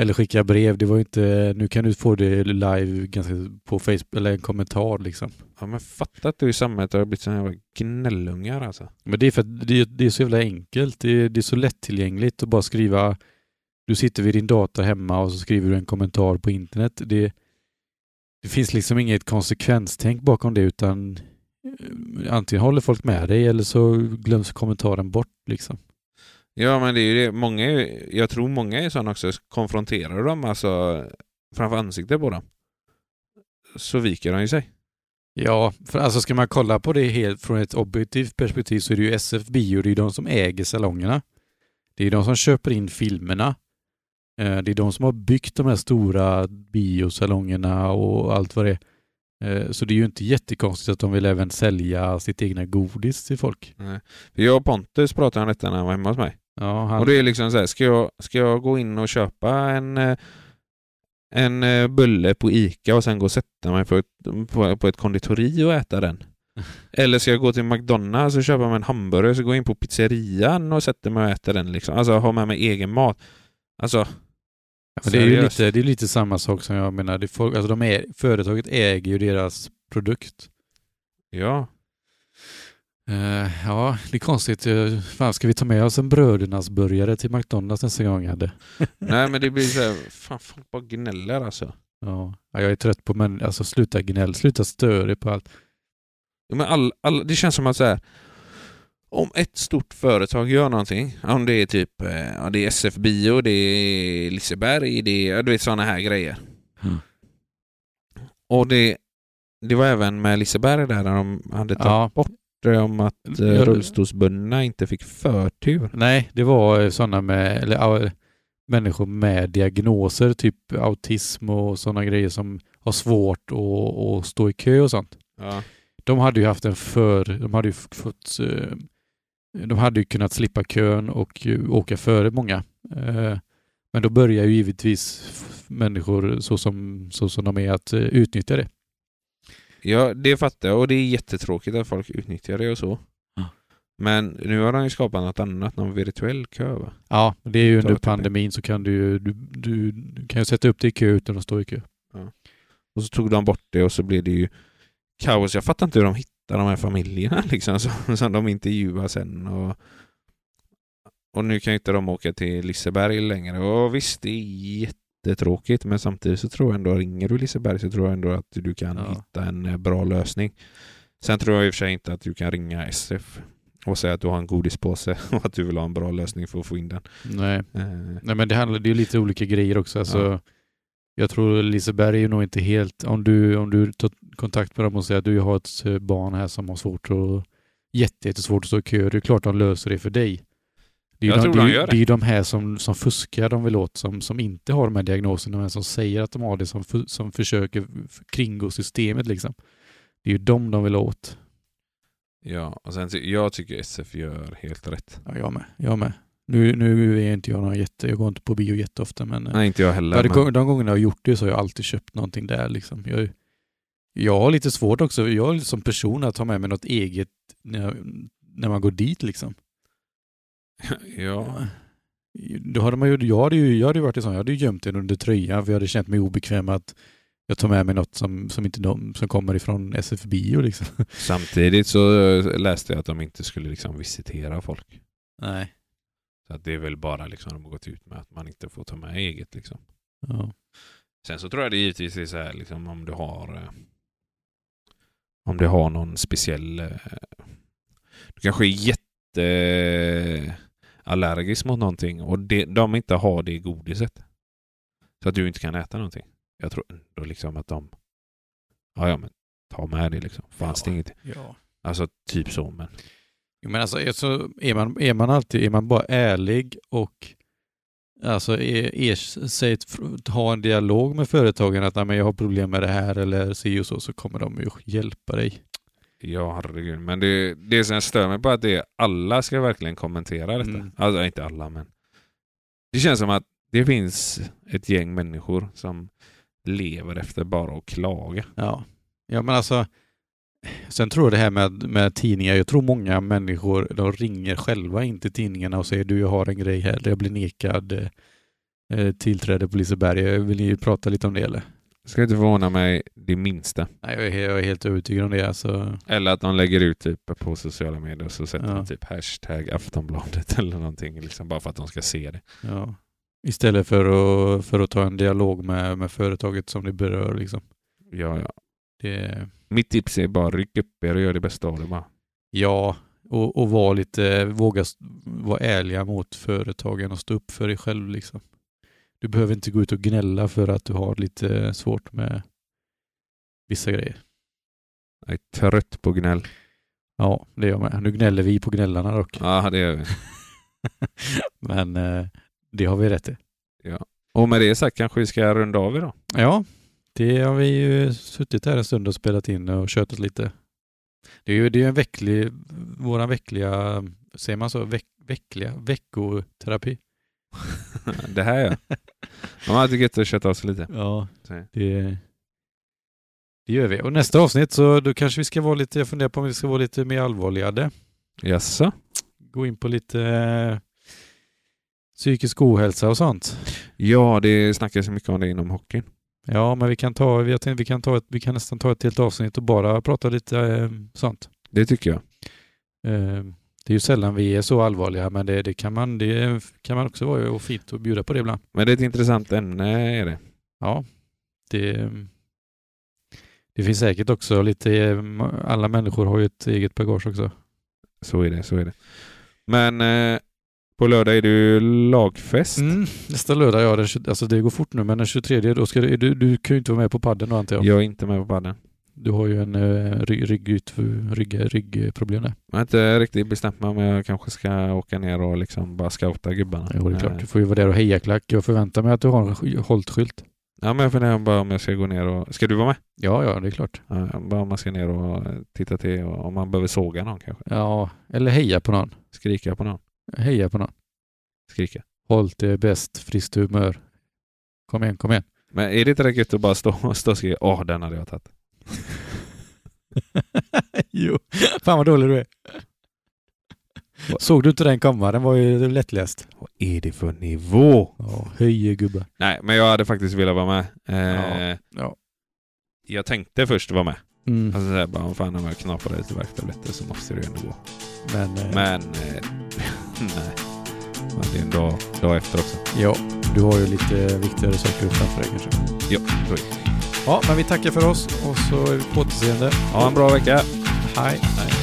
Speaker 1: Eller skicka brev. Det var ju inte, nu kan du få det live ganska på Facebook, eller en kommentar liksom.
Speaker 2: ja, men fatta att du i samhället har blivit såna jävla gnällungar alltså.
Speaker 1: Men det är för att det, det är så jävla enkelt. Det, är- det är så lättillgängligt att bara skriva, du sitter vid din dator hemma och så skriver du en kommentar på internet. Det, det finns liksom inget konsekvenstänk bakom det utan eh, antingen håller folk med dig eller så glöms kommentaren bort liksom.
Speaker 2: Ja, men det är ju det. Många är, ju- jag tror många är sådana också, konfronterar du dem alltså framför ansiktet på dem så viker de ju sig.
Speaker 1: Ja, för alltså ska man kolla på det helt från ett objektivt perspektiv så är det ju SF Bio, det är ju de som äger salongerna. Det är ju de som köper in filmerna. Eh, Det är de som har byggt de här stora biosalongerna och allt vad det är. Eh, Så det är ju inte jättekonstigt att de vill även sälja sitt egna godis till folk.
Speaker 2: För jag och Pontus pratade om detta när han var hemma hos mig.
Speaker 1: Ja,
Speaker 2: Och
Speaker 1: han,
Speaker 2: det är liksom så här, ska jag, ska jag gå in och köpa en, eh, en eh, bulle på Ica och sen gå och sätta mig på ett, på, på ett konditori och äta den? Eller ska jag gå till McDonalds och köpa mig en hamburgare och så gå in på pizzerian och sätta mig och äta den? Liksom? Alltså ha med mig egen mat. Alltså,
Speaker 1: men det är ju
Speaker 2: seriöst.
Speaker 1: lite, det är lite samma sak som jag menar. Det är folk, alltså de är, företaget äger ju deras produkt.
Speaker 2: Ja,
Speaker 1: Eh, ja, det är konstigt. Eh, Fan, ska vi ta med oss en brödernas burgare till McDonalds nästa gång? Hade?
Speaker 2: nej men det blir så här, fan folk bara gnäller alltså.
Speaker 1: Ja. ja, jag är trött på men Alltså sluta gnäll, sluta störa dig på allt.
Speaker 2: Ja, Men all, all, det känns som att så här, om ett stort företag gör någonting, om det är typ eh, ja, det är SF Bio, det är Liseberg, det är ja, du vet, sådana här grejer.
Speaker 1: Mm.
Speaker 2: Och det, det var även med Liseberg där när de hade tagit
Speaker 1: Ja.
Speaker 2: bort det om att eh,
Speaker 1: Jag-
Speaker 2: rullstolsbundna inte fick förtur.
Speaker 1: Nej, det var sådana med, eller ja, människor med diagnoser, typ autism och sådana grejer som har svårt att, att stå i kö och sånt.
Speaker 2: Ja.
Speaker 1: De hade ju haft en för... De hade ju f- fått... eh, De hade ju kunnat slippa kön och ju åka före många. Eh, Men då börjar ju givetvis f- människor så som, så som de är att eh, utnyttja det.
Speaker 2: Ja, det fattar jag och det är jättetråkigt att folk utnyttjar det och så.
Speaker 1: Ja.
Speaker 2: Men nu har de ju skapat något annat, någon virtuell kö va?
Speaker 1: Ja, det är ju
Speaker 2: Ta
Speaker 1: under
Speaker 2: ett par
Speaker 1: pandemin så kan du, ju- du, du, du kan ju sätta upp dig i kö utan att stå i kö.
Speaker 2: Och så tog de bort det och så blev det ju kaos. Jag fattar inte hur de hittar de här familjerna liksom som, som de intervjuar sen. Och, och nu kan ju inte de åka till Liseberg längre. Och visst, det är jättetråkigt men samtidigt så tror jag ändå, ringer du Liseberg så tror jag ändå att du kan
Speaker 1: Ja.
Speaker 2: hitta en eh, bra lösning. Sen tror jag i och för sig inte att du kan ringa SF och säga att du har en godispåse och att du vill ha en bra lösning för att få in den.
Speaker 1: Nej,
Speaker 2: Eh,
Speaker 1: Nej men det, handlar, det är ju lite olika grejer också. Alltså,
Speaker 2: Ja.
Speaker 1: Jag tror Liseberg är nog inte helt... Om du, om du tar kontakt med dem och säger att du har ett eh, barn här som har svårt att... jätte- Jättesvårt att stå i kö. Det är klart de löser det för dig. Det är
Speaker 2: Jag
Speaker 1: ju de,
Speaker 2: tror
Speaker 1: det är
Speaker 2: de
Speaker 1: ju-
Speaker 2: gör det.
Speaker 1: det. är ju de här som, som fuskar de vill åt, som, som inte har de här diagnoserna, men som säger att de har det, som, fu- som försöker kringgå systemet liksom. Det är ju de de vill åt.
Speaker 2: ja, och sen, ty- jag tycker SF gör helt rätt.
Speaker 1: Ja, jag med. Jag med. Nu, nu är inte jag någon jätte, jag går inte på bio jätteofta men eh, Nej,
Speaker 2: Nej, inte jag heller.
Speaker 1: de,
Speaker 2: men-
Speaker 1: gång- de gångerna jag har gjort det så har jag alltid köpt någonting där liksom. Jag, jag har lite svårt också, jag är som person att ta med mig något eget när, jag, när man går dit liksom.
Speaker 2: ja.
Speaker 1: Då hade man ju, jag hade ju, jag hade ju varit i sån, jag hade ju gömt den under tröjan för jag hade känt mig obekväm att jag tar med mig något som, som inte de, som kommer ifrån SF Bio liksom.
Speaker 2: Samtidigt så eh, läste jag att de inte skulle liksom visitera folk.
Speaker 1: Nej.
Speaker 2: Så att det är väl bara liksom de har gått ut med att man inte får ta med eget. Liksom.
Speaker 1: Ja.
Speaker 2: Sen så tror jag det givetvis är så här liksom, om du har eh, om du har någon speciell eh, du kanske är jätte allergisk mot någonting och det, de inte har det i godiset. Så att du inte kan äta någonting. Jag tror ändå liksom att de ja, ja men ta med det liksom. Fanns det
Speaker 1: Ja.
Speaker 2: inget?
Speaker 1: ja.
Speaker 2: Alltså typ så men
Speaker 1: Jo, men alltså, alltså är, man, är man alltid, är man bara ärlig och alltså er, er, säg, ett fr- ha en dialog med företagen att "Nej, men jag har problem med det här eller si och så, så kommer de ju hjälpa dig.
Speaker 2: Ja, herregud. Men det, det som stör mig på att det är alla ska verkligen kommentera detta.
Speaker 1: Mm.
Speaker 2: Alltså inte alla, men det känns som att det finns ett gäng människor som lever efter bara att klaga.
Speaker 1: Ja, ja men alltså sen tror jag det här med, med tidningar, jag tror många människor de ringer själva in till tidningarna och säger du jag har en grej här, jag blir nekad eh, tillträde på Liseberg, vill ni prata lite om det eller?
Speaker 2: Det ska inte förvåna mig det minsta.
Speaker 1: Nej, jag är, jag är helt övertygad om det alltså.
Speaker 2: Eller att de lägger ut typ på sociala medier så sätter
Speaker 1: Ja.
Speaker 2: de typ hashtag Aftonbladet eller någonting. Liksom bara för att de ska se det.
Speaker 1: Ja. Istället för att, för att ta en dialog med, med företaget som det berör. Liksom.
Speaker 2: Ja, ja.
Speaker 1: Det,
Speaker 2: Mitt tips är bara ryck upp er och gör det bästa av det bara.
Speaker 1: ja, och, och vara lite, våga s- vara ärliga mot företagen och stå upp för dig själv. Liksom. Du behöver inte gå ut och gnälla för att du har lite svårt med vissa grejer.
Speaker 2: Jag är trött på gnäll.
Speaker 1: Ja, det är jag med. Nu gnäller vi på gnällarna dock.
Speaker 2: Ja, det gör vi.
Speaker 1: Men eh, det har vi rätt i.
Speaker 2: Och med det sagt kanske vi ska runda av idag.
Speaker 1: Ja, det har vi ju suttit här en stund och spelat in och tjötat lite. Det är ju det är ju en vecklig, våran veckliga, säger man så, veck, veckliga, veckoterapi.
Speaker 2: Det här ja. De har alltid gött att köta av sig lite.
Speaker 1: Ja,
Speaker 2: Så.
Speaker 1: det, det gör vi. Och nästa avsnitt så då kanske vi ska vara lite, jag funderar på om vi ska vara lite mer allvarligare.
Speaker 2: Jaså?
Speaker 1: Gå in på lite eh, psykisk ohälsa och sånt.
Speaker 2: Ja, det snackas ju mycket om det inom hockeyn.
Speaker 1: Ja, men vi kan ta, vi, jag tänkte, vi kan ta ett, vi kan nästan ta ett helt avsnitt och bara prata lite eh, sånt.
Speaker 2: Det tycker jag.
Speaker 1: Eh, Det är ju sällan vi är så allvarliga, men det, det, kan, man, det kan man också vara och fint att bjuda på det ibland.
Speaker 2: Men det är ett intressant ämne är det.
Speaker 1: Ja, det, det finns säkert också lite, eh, alla människor har ju ett eget bagage också.
Speaker 2: Så är det, så är det. Men eh, på lördag är det ju lagfest.
Speaker 1: Mm, nästa lördag, ja, den, 20 alltså det går fort nu, men den 23, då ska du, du, du kan ju inte vara med på padden då antar jag.
Speaker 2: Jag är inte med på padden.
Speaker 1: Du har ju en eh, rygg, rygg, rygg, ryggproblem där.
Speaker 2: Jag har inte riktigt bestämt mig om jag kanske ska åka ner och liksom bara scouta gubbarna.
Speaker 1: Jo, det är klart.
Speaker 2: Eh,
Speaker 1: Du får ju vara där och heja klack. Jag förväntar mig att du har en sk- holtskylt.
Speaker 2: Ja, men jag funderar bara om jag ska gå ner och... Ska du vara med?
Speaker 1: Ja, ja, det är klart.
Speaker 2: Ja, bara om man ska ner och eh, titta till och om man behöver såga någon kanske.
Speaker 1: Ja, eller heja på någon.
Speaker 2: Skrika på någon.
Speaker 1: Heja på någon.
Speaker 2: Skrika.
Speaker 1: Håll det bäst, friskt humör. Kom igen, kom igen.
Speaker 2: Men är det inte rätt gött att bara stå, stå och skrika Åh, den hade jag tagit.
Speaker 1: jo. Fan vad dålig du är. Såg du inte den komma? Den var ju lättläst.
Speaker 2: Vad är det för nivå?
Speaker 1: Ja, höje gubbar.
Speaker 2: Nej, men jag hade faktiskt velat vara med. Eh,
Speaker 1: Ja.
Speaker 2: Jag tänkte först vara med.
Speaker 1: Mm.
Speaker 2: Alltså såhär bara, "Vad fan om jag knaprar lite värktabletter så måste det ju ändå gå.
Speaker 1: Men, eh,
Speaker 2: Men, eh, nej. Men det är en dag, dag efter också.
Speaker 1: ja, du har ju lite viktigare saker framför dig kanske.
Speaker 2: Ja, så är det.
Speaker 1: Ja, men vi tackar för oss och så är vi på återseende.
Speaker 2: Ha en bra vecka.
Speaker 1: Hej.
Speaker 2: Hej.